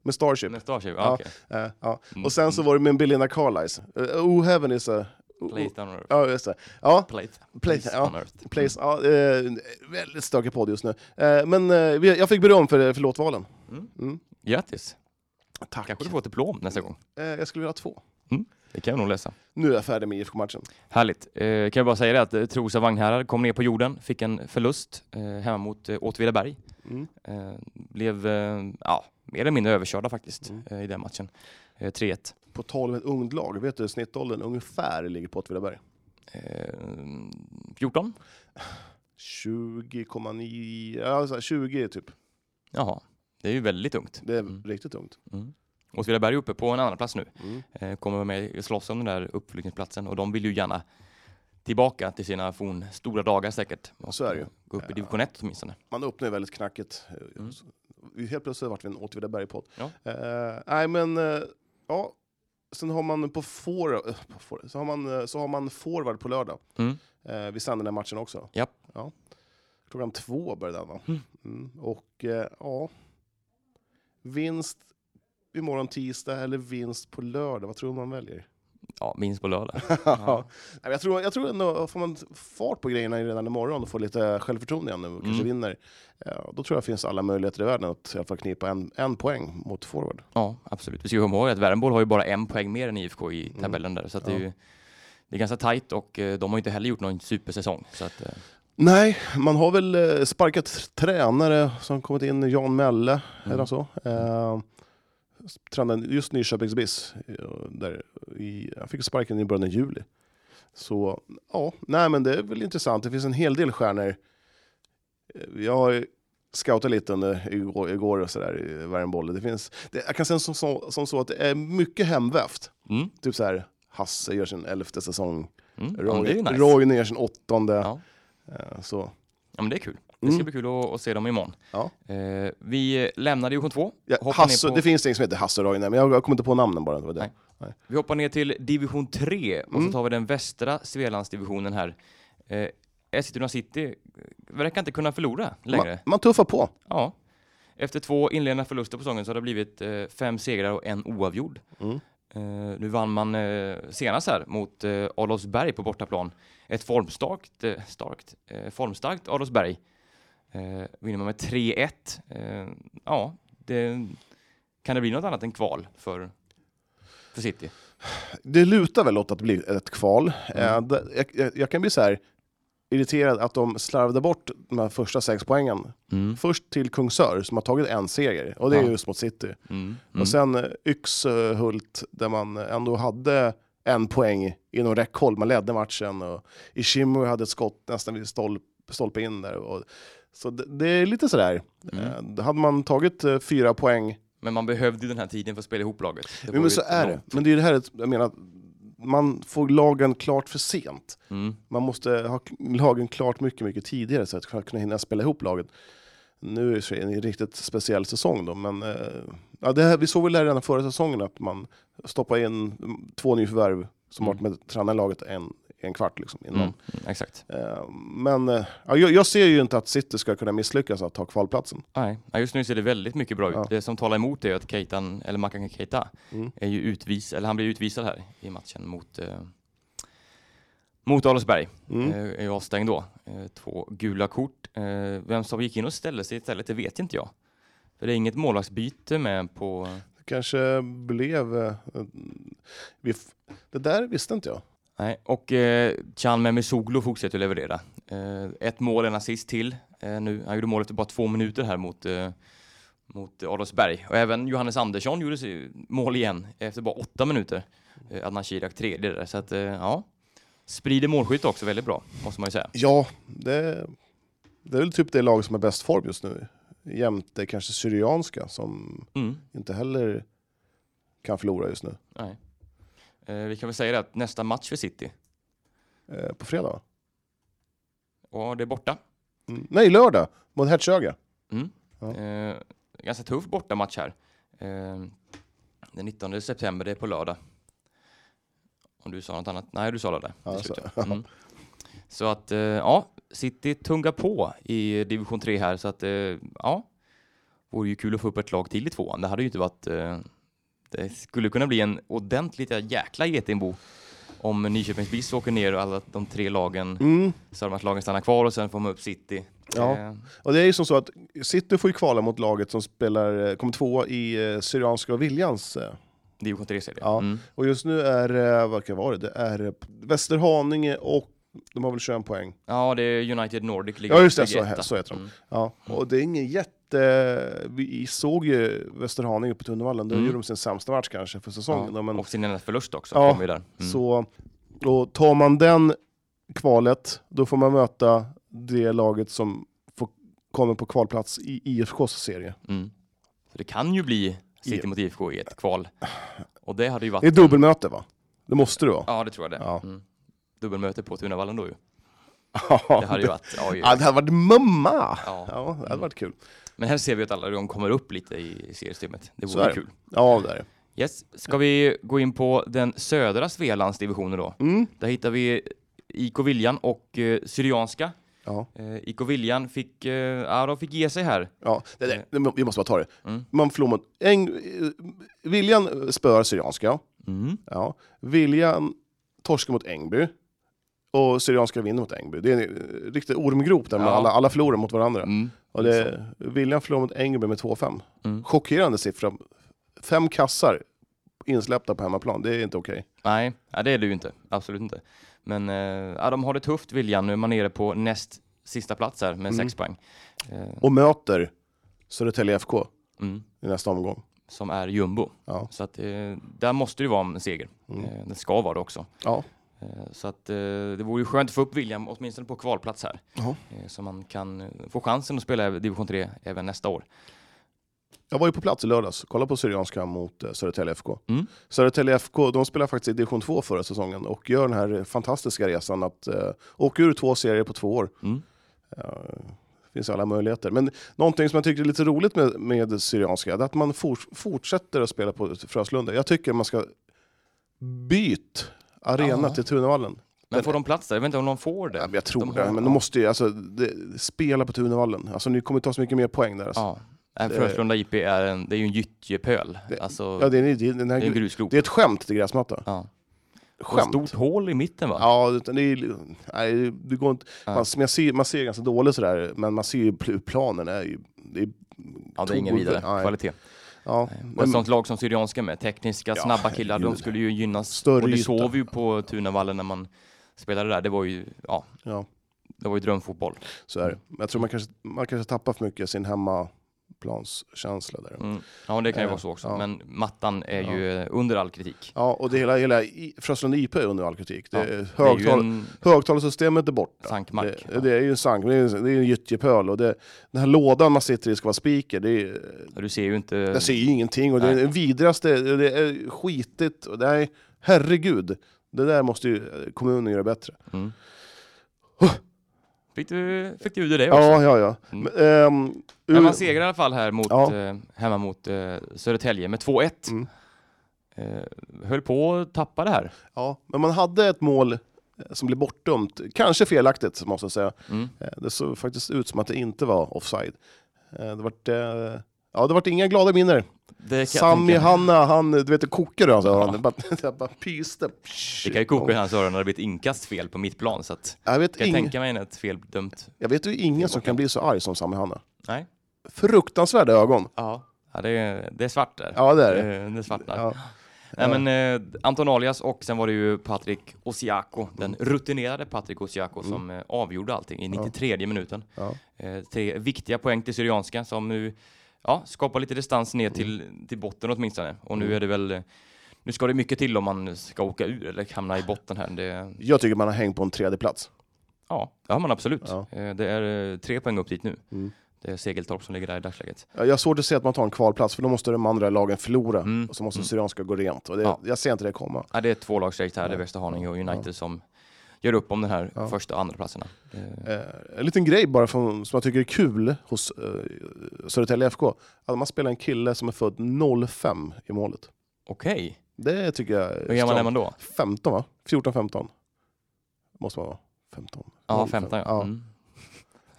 B: Med Starship.
A: Med Starship, ja, okej. Mm.
B: Eh, ja. Och sen så var det med Belinda Carlisle. Eh, oh heaven is a... oh,
A: Plate on earth.
B: Ja, just det. Ja,
A: Plate.
B: Place,
A: on
B: ja.
A: earth.
B: Place, ja, eh, väldigt stökig podd just nu. Eh, men eh, vi- jag fick beröm för, för låtvalen.
A: Grattis! Mm.
B: Tack.
A: Kanske du får ett diplom nästa gång.
B: Eh, jag skulle vilja ha två.
A: Det kan jag nog läsa.
B: Nu är jag färdig med IFK-matchen.
A: Härligt. Eh, kan jag bara säga det att eh, Trosa Vagnhärad kom ner på jorden, fick en förlust eh, hemma mot eh, Åtvidaberg.
B: Mm.
A: Eh, blev eh, ja, mer eller mindre överkörda faktiskt
B: Mm.
A: eh, i den matchen. Eh, 3-1.
B: På tal om ett ungt lag, vet du snittåldern ungefär ligger på Åtvidaberg?
A: Eh, 14?
B: 20,9, ja, så här 20 typ.
A: Jaha, det är ju väldigt ungt.
B: Det är
A: Mm.
B: riktigt ungt.
A: Åtvidaberg är uppe på en annan plats nu.
B: Mm.
A: Eh, kommer vara med och slåss om den där uppflyttningsplatsen och de vill ju gärna tillbaka till sina fornstora dagar säkert. Och
B: Så är det ju.
A: eh, Gå upp i division 1 åtminstone.
B: Man öppnar ju väldigt knackigt. Mm. Helt plötsligt vart vi en Åtvidaberg-podd.
A: Ja.
B: Eh, nej men, eh, ja. Sen har man på for, eh, på for, så, har man, eh, så har man forward på lördag.
A: Mm.
B: Eh, vi sänder den här matchen också.
A: Japp.
B: Ja. Klockan två börjar den va?
A: Mm.
B: Mm. Och eh, ja, vinst imorgon tisdag eller vinst på lördag, vad tror du man väljer?
A: Ja, minst på lördag.
B: Ja. Nej, men Jag tror, jag tror ändå, får man fart på grejerna redan imorgon och får lite självförtroende igen nu och kanske
A: Mm.
B: vinner, ja, då tror jag finns alla möjligheter i världen att i alla fall knipa en, en poäng mot forward.
A: Ja, absolut. Vi ska ju komma ihåg att Värmboll har ju bara en poäng mer än IFK i
B: Mm.
A: tabellen där. Så att det, är ju, det är ganska tajt och eh, de har ju inte heller gjort någon supersäsong. Så att, eh,
B: Nej, man har väl eh, sparkat tränare som kommit in, Jan Melle, eller så. Eh, tränaren just Nyköpings BIS, eh, där i, han fick sparken i början av juli. Så ja, nej men det är väl intressant. Det finns en hel del stjärnor. Eh, Jag har scoutat lite under igår, igår och sådär i Värmbolle. Det finns, det, jag kan säga som, som, som så att det är mycket hemvävt.
A: mm.
B: Typ så här, Hasse gör sin elfte säsong.
A: Mm. Ja, men
B: Roy,
A: det är ju nice.
B: Roy ner sin åttonde.
A: Ja.
B: Eh, Så.
A: Ja, men det är kul. Det ska
B: Mm.
A: bli kul att, att se dem imorgon.
B: Ja.
A: Eh, vi lämnar division 2.
B: Ja, Hasse, Det finns en som heter Hasse Roy, nej, men jag, jag kommer inte på namnen bara. Det var det.
A: Nej. Vi hoppar ner till division 3 och så tar vi den västra Svealandsdivisionen här. Eh, Eskilstuna City eh, verkar inte kunna förlora längre.
B: Man, man tuffar på.
A: Ja. Efter två inledande förluster på säsongen så har det blivit eh, fem segrar och en oavgjord.
B: Mm.
A: Eh, nu vann man eh, senast här mot eh, Adolfsberg på bortaplan. Ett formstarkt, eh, starkt, eh, formstarkt Adolfsberg. Eh, vinner man med 3-1. Eh, ja, det, kan det bli något annat än kval för, för City?
B: Det lutar väl åt att det blir ett kval. Eh,
A: Mm.
B: det- jag, jag, jag kan bli så här irriterad att de slarvade bort de här första sex poängen. Först till Kungsör som har tagit en seger, och det är
A: Ja.
B: just mot City.
A: Mm.
B: Och sen eh, Yxhult där man ändå hade en poäng inom räckhåll. Man ledde matchen och Ishimu hade ett skott nästan vid stolp, stolpe in där. Och, så det, det är lite sådär. Mm. Hade man tagit eh, fyra poäng,
A: Men man behövde ju den här tiden för att spela ihop laget. Det var
B: men
A: ju
B: så
A: ett
B: är
A: långt-
B: det. Men det är ju det här jag menar, man får lagen klart för sent.
A: Mm.
B: Man måste ha k- lagen klart mycket, mycket tidigare så att kunna- kunna hinna spela ihop laget. Nu är det så- är det en riktigt speciell säsong då, men eh, ja, det här, vi såg väl det här redan förra säsongen att man stoppar in mm, två nyförvärv som
A: Mm.
B: varit med tränaren i laget en, en kvart liksom innan.
A: Mm. Mm, exakt.
B: Eh, men eh, ja, jag, jag ser ju inte att City ska kunna misslyckas att ta kvalplatsen.
A: Nej, ja, just nu ser det väldigt mycket bra ut.
B: Ja.
A: Det som talar emot det är att Keitan, eller Makan Keita,
B: Mm.
A: är ju utvis, eller han blir utvisad här i matchen mot, eh, mot Adolfsberg.
B: Mm.
A: Eh, är ju avstängd då. Eh, två gula kort. Eh, vem som gick in och ställde sig istället, det vet inte jag. För det är inget målvaktsbyte med på...
B: Kanske blev... eh, vi f- det där visste inte jag.
A: Nej, och eh, Chan Memizoglu fortsätter att leverera. Eh, ett mål, en assist till. Eh, nu, han gjorde mål efter bara två minuter här mot, eh, mot Adolfsberg. Och även Johannes Andersson gjorde sig- mål igen efter bara åtta minuter. Eh, Adnan Kirak tredje där. Så att, eh, ja. Sprider målskytt också väldigt bra, måste man ju säga.
B: Ja, det, det är väl typ det lag som är bäst form just nu. Jämte kanske Syrianska som
A: Mm.
B: inte heller kan förlora just nu.
A: Nej. Eh, vi kan väl säga det att nästa match för City,
B: Eh, på fredag va?
A: och det är borta.
B: Mm. Nej, lördag mot Hertsöga.
A: Mm.
B: Ja.
A: Eh, ganska tuff bortamatch här. Eh, den 19 september, det är på lördag. Om du sa något annat? Nej, du sa lördag.
B: Ja,
A: Det är
B: så-
A: slut, ja. Mm. Så att, eh, ja, City tungar på i division 3 här, så att, eh, ja. Vore ju kul att få upp ett lag till i tvåan. Det hade ju inte varit... Eh, det skulle kunna bli en ordentligt jäkla getingbo om Nyköpings BIS åker ner och alla de tre lagen,
B: Mm.
A: Sörmlandslagen stannar kvar och sen får man upp City.
B: Ja.
A: Eh,
B: Och det är ju som så att City får ju kvala mot laget som spelar, eh, kommer tvåa i eh, Syrianska och Viljans. Eh.
A: division 3-serie.
B: Ja.
A: Mm.
B: Och just nu är, eh, vad kan vara det, det är eh, Västerhaninge och de har väl 21 poäng.
A: Ja, det är United Nordic ligger
B: Ja just det, så,
A: ligger
B: he-
A: etta.
B: så heter de.
A: Mm.
B: Ja, och det är ingen jätte... Vi såg ju Västerhaninge på Tunnevallen, där
A: Mm.
B: gjorde de sin sämsta match kanske för säsongen.
A: Ja.
B: Men,
A: Och sin enda förlust också.
B: Ja,
A: Kom ju där. Mm.
B: så, och tar man den kvalet, då får man möta det laget som får, kommer på kvalplats i IFKs serie.
A: Mm. så det kan ju bli City
B: Ja.
A: mot IFK i ett kval. Och det hade ju varit...
B: Det är dubbelmöte va? Det måste det vara.
A: Ja, det tror jag det.
B: Ja.
A: Mm. Dubbelmöte på Tunavallen då ju.
B: Ja,
A: Det hade ju varit... Ja, ju.
B: Ja, det hade varit mumma!
A: Ja.
B: Ja, det hade varit kul.
A: Men här ser vi att alla de kommer upp lite i seriesystemet. Det
B: Så är
A: vore
B: det.
A: kul.
B: Ja, det är det.
A: Yes. Ska vi gå in på den södra Svealands divisionen då?
B: Mm.
A: Där hittar vi IK Viljan och eh, Syrianska.
B: Ja.
A: Eh, IK Viljan fick, eh, ja, de fick ge sig här.
B: Ja, det, det, det, vi måste bara ta det.
A: Mm.
B: Man förlorar mot... En, Viljan spöar Syrianska.
A: Mm.
B: Ja. Viljan torskar mot Engby. Och Syrianska vinner mot Engby. Det är en eh, riktig ormgrop där med
A: Ja.
B: alla, alla förlorar mot varandra.
A: Mm.
B: Och det, William förlorar mot Engby med 2-5.
A: Mm.
B: Chockerande siffra. Fem kassar insläppta på hemmaplan, det är inte okej.
A: Nej, ja, det är det ju inte. Absolut inte. Men eh, ja, de har det tufft, Viljan. Nu är man nere på näst sista plats här
B: Mm.
A: med sex poäng. Eh,
B: Och möter Södertälje FK
A: mm,
B: i nästa omgång.
A: som är jumbo.
B: Ja. Mm.
A: Så att, eh, där måste det ju vara en seger. Eh, det ska vara det också.
B: Ja.
A: Eh, så att, eh, det vore ju skönt att få upp William åtminstone på kvalplats här.
B: Ja.
A: Eh, så man kan eh, få chansen att spela i division 3 även nästa år.
B: Jag var ju på plats i lördags, kolla på Syrianska mot eh, Södertälje FK.
A: Mm.
B: Södertälje FK, de spelade faktiskt i division 2 förra säsongen och gör den här fantastiska resan att eh, åka ur två serier på två år.
A: Mm.
B: Eh, finns alla möjligheter. Men någonting som jag tyckte är lite roligt med, med Syrianska, det är att man for, fortsätter att spela på Fröslunda. Jag tycker man ska byta arena
A: Ja.
B: till Tunavallen.
A: Men får de plats där? Jag vet inte om de får det.
B: Ja, men jag tror
A: De
B: det,
A: har-
B: men de måste ju alltså, det, spela på Tunavallen. Alltså, ni kommer ta så mycket mer poäng där. Alltså.
A: Ja. Nej, Fröslunda IP är, en, det är ju en gyttjepöl.
B: Det-
A: Alltså,
B: Ja. det, är, det, är, den här,
A: det är en
B: gru-
A: grusgrop.
B: det är ett skämt till gräsmatta.
A: Ja. Och ett
B: Skämt.
A: stort hål i mitten va?
B: Ja, utan det är, nej, det går inte.
A: Ja.
B: Man, man, ser, man ser ganska dåligt sådär, men man ser ju pl- planen är ju... Det är,
A: Ja, det är ingen
B: tog-
A: vidare
B: nej.
A: kvalitet.
B: ja,
A: Och ett
B: men,
A: sånt lag som Syrianska med, tekniska,
B: Ja,
A: snabba killar, de
B: herregud.
A: skulle ju gynnas.
B: Större
A: och det
B: yta.
A: såg vi ju på Tunavallen när man spelade där. Det var ju, ja,
B: ja,
A: det var ju drömfotboll.
B: så är det. Men Jag tror man kanske, man kanske tappar för mycket sin hemmaplanskänsla där.
A: Mm. Ja, det kan ju
B: Eh,
A: vara så också.
B: ja.
A: Men mattan är
B: Ja.
A: ju eh, under all kritik.
B: Ja, och det hela, hela i- Fröslunda IP är under all kritik. Det
A: Ja,
B: är
A: Det är ju
B: högtal,
A: en
B: Högtalarsystemet är borta.
A: sankmack.
B: Det, det är ju en sank, det är, det är en gyttjepöl och det, den här lådan man sitter i ska vara spiker. Det är,
A: Ja, Du ser ju inte...
B: Jag ser ju ingenting och det är
A: Nej.
B: den vidrigaste, det är skitigt och det är, herregud. Det där måste ju kommunen göra bättre.
A: Mm. Fick du, fick du ur dig det också?
B: Ja, ja, ja.
A: Mm.
B: Men, ehm,
A: Men man
B: ur-
A: segrar i alla fall här mot,
B: Ja.
A: eh, hemma mot eh, Södertälje med 2-1.
B: Mm.
A: Eh, höll på att tappa det här.
B: ja, men man hade ett mål eh, som blev bortdömt, kanske felaktigt måste jag säga.
A: Mm.
B: Eh, Det såg faktiskt ut som att det inte var offside. Eh, Det vart, eh, ja, det vart inga glada minner.
A: Det kan jag
B: Sami
A: tänka mig.
B: Hanna, han, du vet, det kokade alltså,
A: Ja.
B: han bara, jag bara pyste.
A: Det kan ju koka i hans öron när det blir ett inkast fel på mitt plan. Så att,
B: Jag vet,
A: kan jag
B: ing,
A: tänka mig ett feldömt...
B: jag vet ju ingen som kan bli så arg som Sami Hanna.
A: Nej.
B: Fruktansvärda ögon.
A: Ja. ja det, är, det är svart där.
B: Ja, det är det.
A: Eh, det svartnar.
B: Ja.
A: Nej, men, eh, Anton Alias och sen var det ju Patrik Osiako, den
B: Mm.
A: rutinerade Patrik Osiako som eh, avgjorde allting i 93 minuten.
B: Ja.
A: Eh, tre viktiga poäng till Syrianska som nu ja, skapar lite distans ner till,
B: Mm.
A: till botten åtminstone. Och nu är det väl eh, nu ska det mycket till om man ska åka ur eller hamna i botten här. Det,
B: Jag tycker man har hängt på en tredje plats.
A: ja, det har man absolut.
B: Ja.
A: Eh, Det är eh, tre poäng upp dit nu.
B: Mm.
A: Det är Segeltorp som ligger där i dagsläget.
B: Jag har svårt att se att man tar en kvalplats, för då måste de andra lagen förlora.
A: Mm.
B: Och så måste Syrianska gå rent. Och det,
A: Ja.
B: Jag ser inte det komma.
A: Ja, det är två lag strejk här, det är Västra Haninge och United som gör upp om den här
B: Ja.
A: första och andra platserna. Eh,
B: Eh, en liten grej bara från, som jag tycker är kul hos eh, Södertälje FK. Att man spelar en kille som är född 05 i målet.
A: Okej,
B: Det tycker jag är
A: hur gammal är
B: stramt.
A: man då?
B: 15 va? 14-15? Måste man vara. 15.
A: Ja,
B: 05.
A: 15 ja.
B: Ja.
A: Mm.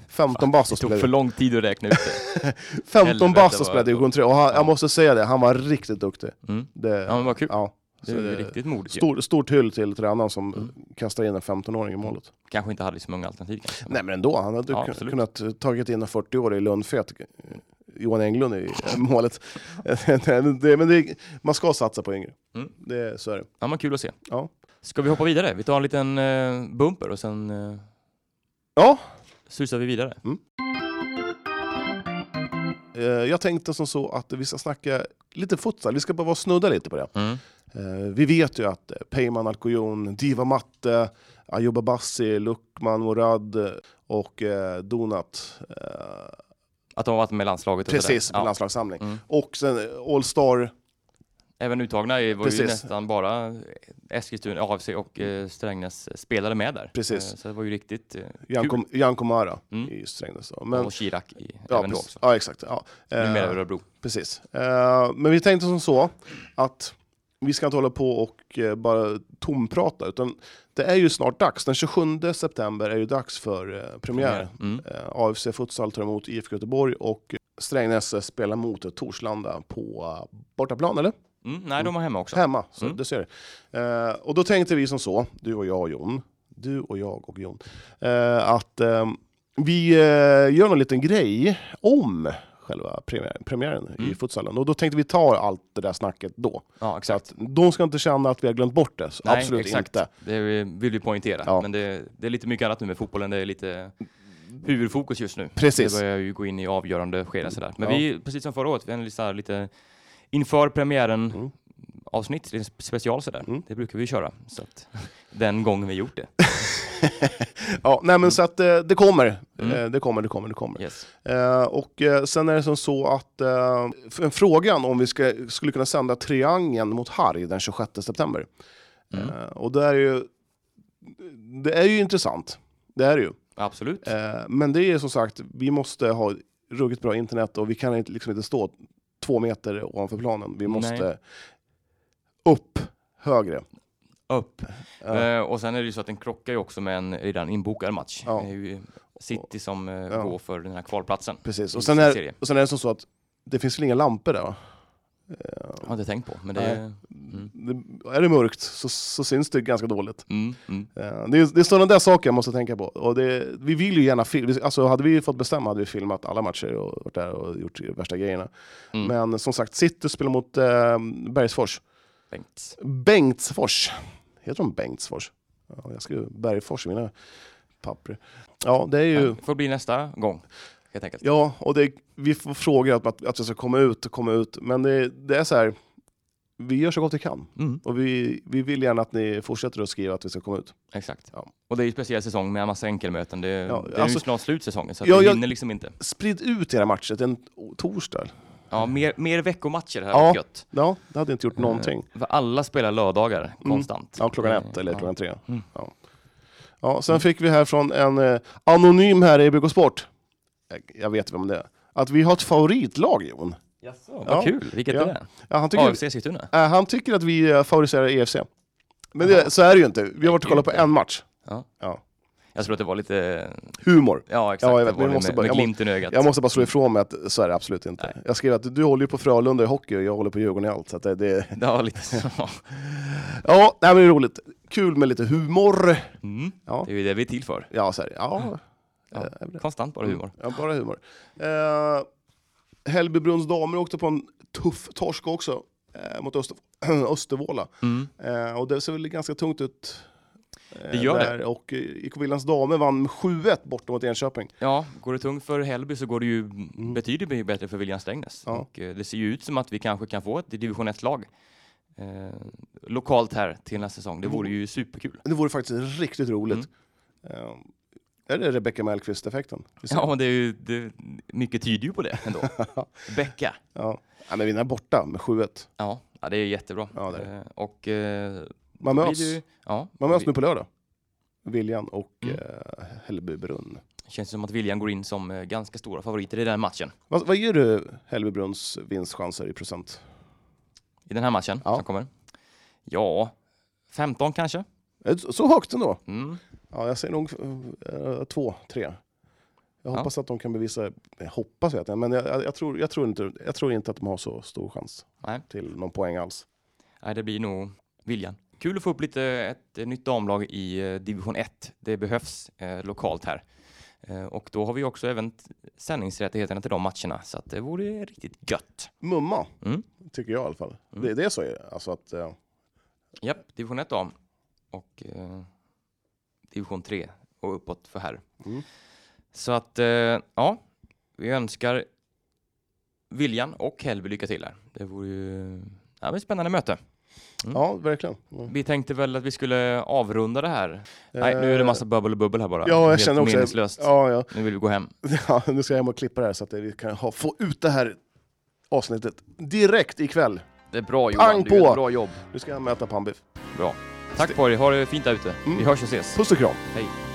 B: 15 bast
A: Det
B: och
A: tog
B: spelade,
A: för lång tid att räkna ut det.
B: 15
A: Helvete
B: bast och
A: vad-
B: spelade i division 3. Och han,
A: Ja.
B: jag måste säga det, han var riktigt duktig.
A: Mm.
B: Det,
A: Ja, men vad kul.
B: ja.
A: Det
B: Så
A: är ju
B: det-
A: riktigt modigt ju.
B: Stor, stort hyll till tränaren som
A: Mm.
B: kastar in en 15-åring i målet.
A: Kanske inte hade så många alternativ kanske.
B: Nej men ändå, han hade
A: Ja,
B: kun-
A: absolut.
B: kunnat eh, tagit in en 40-årig Lundfet, eh, Johan Englund i eh, målet. det, men det, man ska satsa på yngre.
A: Mm.
B: Det, så är det.
A: Ja, men kul att se.
B: Ja.
A: Ska vi hoppa vidare? Vi tar en liten eh, bumper och sen eh,
B: Ja,
A: susar vi vidare.
B: eh, jag tänkte som så att vi ska snacka lite futsal, vi ska bara vara och snudda lite på det.
A: Mm.
B: Eh, vi vet ju att eh, Peyman Alkojon, Diva Matte, Ayuba Bassi, Lukman Morad eh, och eh, Donat eh,
A: Att de har varit med i landslaget och
B: Precis, på
A: sådär. Ja.
B: landslagssamling.
A: Mm.
B: Och sen eh, All Star,
A: Även uttagna är- var ju
B: Precis.
A: nästan bara eh, Eskilstuna, AFC och eh, Strängnäs spelade med där.
B: Precis.
A: Eh, så det var ju riktigt eh,
B: Jan,
A: kul.
B: Kom, Jan Komara
A: Mm.
B: i Strängnäs. då.
A: Men...
B: Men,
A: Och Kirak i,
B: ja,
A: även då
B: precis,
A: också.
B: ja, exakt. Ja. Eh,
A: Numera Örebro.
B: precis. Eh, men vi tänkte som så att vi ska inte hålla på och eh, bara tomprata, utan det är ju snart dags. Den 27 september är ju dags för eh, premiär.
A: Mm.
B: Eh, AFC Futsal tar emot IFK Göteborg och Strängnäs spelar mot Torslanda på eh, bortaplan, eller?
A: Mm, nej, de var hemma också.
B: Hemma, så
A: Mm.
B: det ser du. Eh, och då tänkte vi som så, du och jag och Jon, du och jag och Jon, eh, att eh, vi eh, gör någon liten grej om själva premiär, premiären i
A: Mm.
B: futsalen. Och då tänkte vi ta allt det där snacket då.
A: Ja,
B: Så
A: exakt.
B: att de ska inte känna att vi har glömt bort det. Så
A: Nej,
B: Absolut
A: exakt.
B: inte.
A: Det vill vi poängtera.
B: Ja.
A: Men det, det är lite mycket annat nu med fotbollen. Det är lite huvudfokus just nu.
B: Precis.
A: Det börjar ju gå in i avgörande skede sådär. Men
B: Ja.
A: vi, precis som förra året, vi analyserar lite inför premiären
B: Mm.
A: avsnitt, lite special sådär.
B: Mm.
A: Det brukar vi köra. Så att, den gången vi gjort det.
B: ja, nej men så att eh, det kommer.
A: Mm.
B: Eh, Det kommer, det kommer, det kommer.
A: Yes.
B: Eh, och eh, sen är det som så att eh, f- en frågan om vi ska, skulle kunna sända Triangeln mot Harry den 26 september. Eh, och det är ju, det är ju intressant. Det är det ju.
A: Absolut.
B: Eh, men det är som sagt, vi måste ha ruggigt bra internet och vi kan inte, liksom inte stå två meter ovanför planen. Vi måste upp högre.
A: Upp.
B: Ja.
A: Eh, och sen är det ju så att den krockar ju också med en redan inbokad match.
B: Ja.
A: Det är ju City som eh,
B: Ja.
A: går för den här kvalplatsen.
B: Precis.
A: I
B: Och sen,
A: sin
B: är,
A: serie.
B: och sen är det som så att det finns väl inga lampor där va?
A: Har inte tänkt på, men det...
B: Nej. Det, är det mörkt så, så syns det ganska dåligt.
A: Mm, mm.
B: Eh, Det är, det är sådana där saker jag måste tänka på. Och det, vi vill ju gärna filma. Alltså hade vi fått bestämma hade vi filmat alla matcher och varit där och gjort värsta grejerna.
A: Mm.
B: Men som sagt, City spelar mot eh, Bergsfors.
A: Bengt.
B: Bengtsfors. Heter de Bengtsfors? Ja, jag skrev Bergfors i mina papper. Ja, det är ju...
A: Ja, får bli nästa gång, helt enkelt.
B: Ja, och det, vi får frågor att, att, att vi ska komma ut och komma ut. Men det, det är så här, vi gör så gott vi kan.
A: Mm.
B: Och vi, vi vill gärna att ni fortsätter att skriva att vi ska komma ut.
A: Exakt.
B: Ja.
A: Och det är ju en speciell säsong med en massa enkelmöten. Det, det är
B: alltså-
A: ju snart slut säsongen, så att
B: Ja,
A: vi
B: jag-
A: hinner liksom inte.
B: Sprid ut era matcher till en torsdag.
A: Ja, mer, mer veckomatcher här
B: Ja.
A: varit gött.
B: Ja, det hade inte
A: Eh,
B: gjort någonting.
A: För alla spelar lördagar konstant.
B: Mm. Ja, klockan ett
A: Eh,
B: eller
A: ja.
B: klockan tre.
A: Mm.
B: Ja. Ja, sen fick vi här från en eh, anonym här i BK Sport. Jag- Jag vet vem det är. Att vi har ett favoritlag, Jon.
A: Jaså, vad
B: Ja.
A: kul. Vilket
B: Ja.
A: är det?
B: Ja, han, tycker,
A: AFC Sigtuna?
B: äh, han tycker att vi eh, favoriserar EFC. Men det, så är det ju inte. Vi har varit och kollat på en match.
A: Jag tror att det var lite...
B: Humor.
A: Ja, exakt.
B: Ja, jag vet,
A: det
B: men
A: var
B: jag
A: det
B: måste
A: med,
B: börja-
A: med
B: jag må-
A: glimten i ögat.
B: Jag måste bara slå ifrån mig att så är det absolut inte. Jag skrev att du håller ju på Frölunda i hockey och jag håller på Djurgården i allt. Så att det, det...
A: Ja, lite så.
B: Ja, nej, men det är roligt. Kul med lite humor.
A: Mm.
B: Ja.
A: Det är ju det vi är till för.
B: Ja, så är det. Ja,
A: Ja.
B: eh,
A: Konstant bara humor.
B: Ja, bara humor. Eh, Hällbybrunns damer åkte på en tuff torsk också eh, mot Öster Östervåla.
A: Mm.
B: Eh, och det ser väl ganska tungt ut. eh,
A: Det gör det.
B: där. Och eh, IK Willands damer vann med 7-1 borta mot Enköping.
A: Ja, går det tungt för Hällby så går det ju betydligt mycket bättre för William Strängnäs.
B: Mm. Ja.
A: Och, eh, det ser ju ut som att vi kanske kan få ett division 1-lag eh, lokalt här till nästa säsong. Det vore ju superkul.
B: Det vore faktiskt riktigt roligt. Eh, är det Rebecka Mellqvist-effekten? Vi ser.
A: Mm. Ja, men det är ju, det, mycket tyder ju på det ändå. Becka.
B: Ja. Nej, men vinna borta med 7-1.
A: Ja, ja, det är jättebra.
B: Ja, det är
A: Eh, Och eh,
B: Man
A: då blir
B: möts,
A: det ju- ja,
B: man möts
A: vi-
B: nu på lördag. Viljan och
A: Mm.
B: eh, Hällbybrunn.
A: känns som att William går in som eh, ganska stora favoriter i den här matchen.
B: Vad, vad ger du Hällbybrunns vinstchanser i procent?
A: I den här matchen
B: Ja.
A: som kommer. Ja, 15 kanske.
B: Eh, så- Så högt ändå?
A: Mm.
B: Ja, jag säger nog eh, två, tre. Jag
A: Ja.
B: hoppas att de kan bevisa, jag hoppas vet jag, men jag, jag, jag, tror, jag, tror inte, jag tror inte att de har så stor chans
A: Nej.
B: till någon poäng alls.
A: Nej, det blir nog Viljan. Kul att få upp lite ett eh, nytt damlag i eh, division 1. Det behövs eh, lokalt här. Eh, och då har vi också även t- sändningsrättigheterna till de matcherna, så att det vore riktigt gött.
B: Mumma,
A: Mm.
B: tycker jag i alla fall.
A: Mm.
B: Det, det är så, eh, alltså att, eh,
A: Japp, division 1 dam och eh, division 3 och uppåt för här.
B: Mm.
A: Så att eh, ja, vi önskar Viljan och Hällby lycka till här. Det vore ju ja, ett spännande möte.
B: ja verkligen. Mm.
A: Vi tänkte väl att vi skulle avrunda det här. Nej, nu är det massa bubbel och bubbel här bara.
B: Eh, Ja, jag
A: Helt
B: känner också-
A: meningslöst.
B: Ja, ja.
A: Nu vill vi gå hem.
B: ja, nu ska jag hem och klippa det här så att vi kan ha, få ut det här avsnittet direkt ikväll.
A: Det är bra Johan,
B: Pang
A: du gör
B: på!
A: ett bra jobb.
B: Nu ska jag hem och äta pannbiff.
A: Bra. Tack på er, ha det fint där ute.
B: Mm.
A: Vi hörs och ses.
B: Puss och kram!
A: Hej.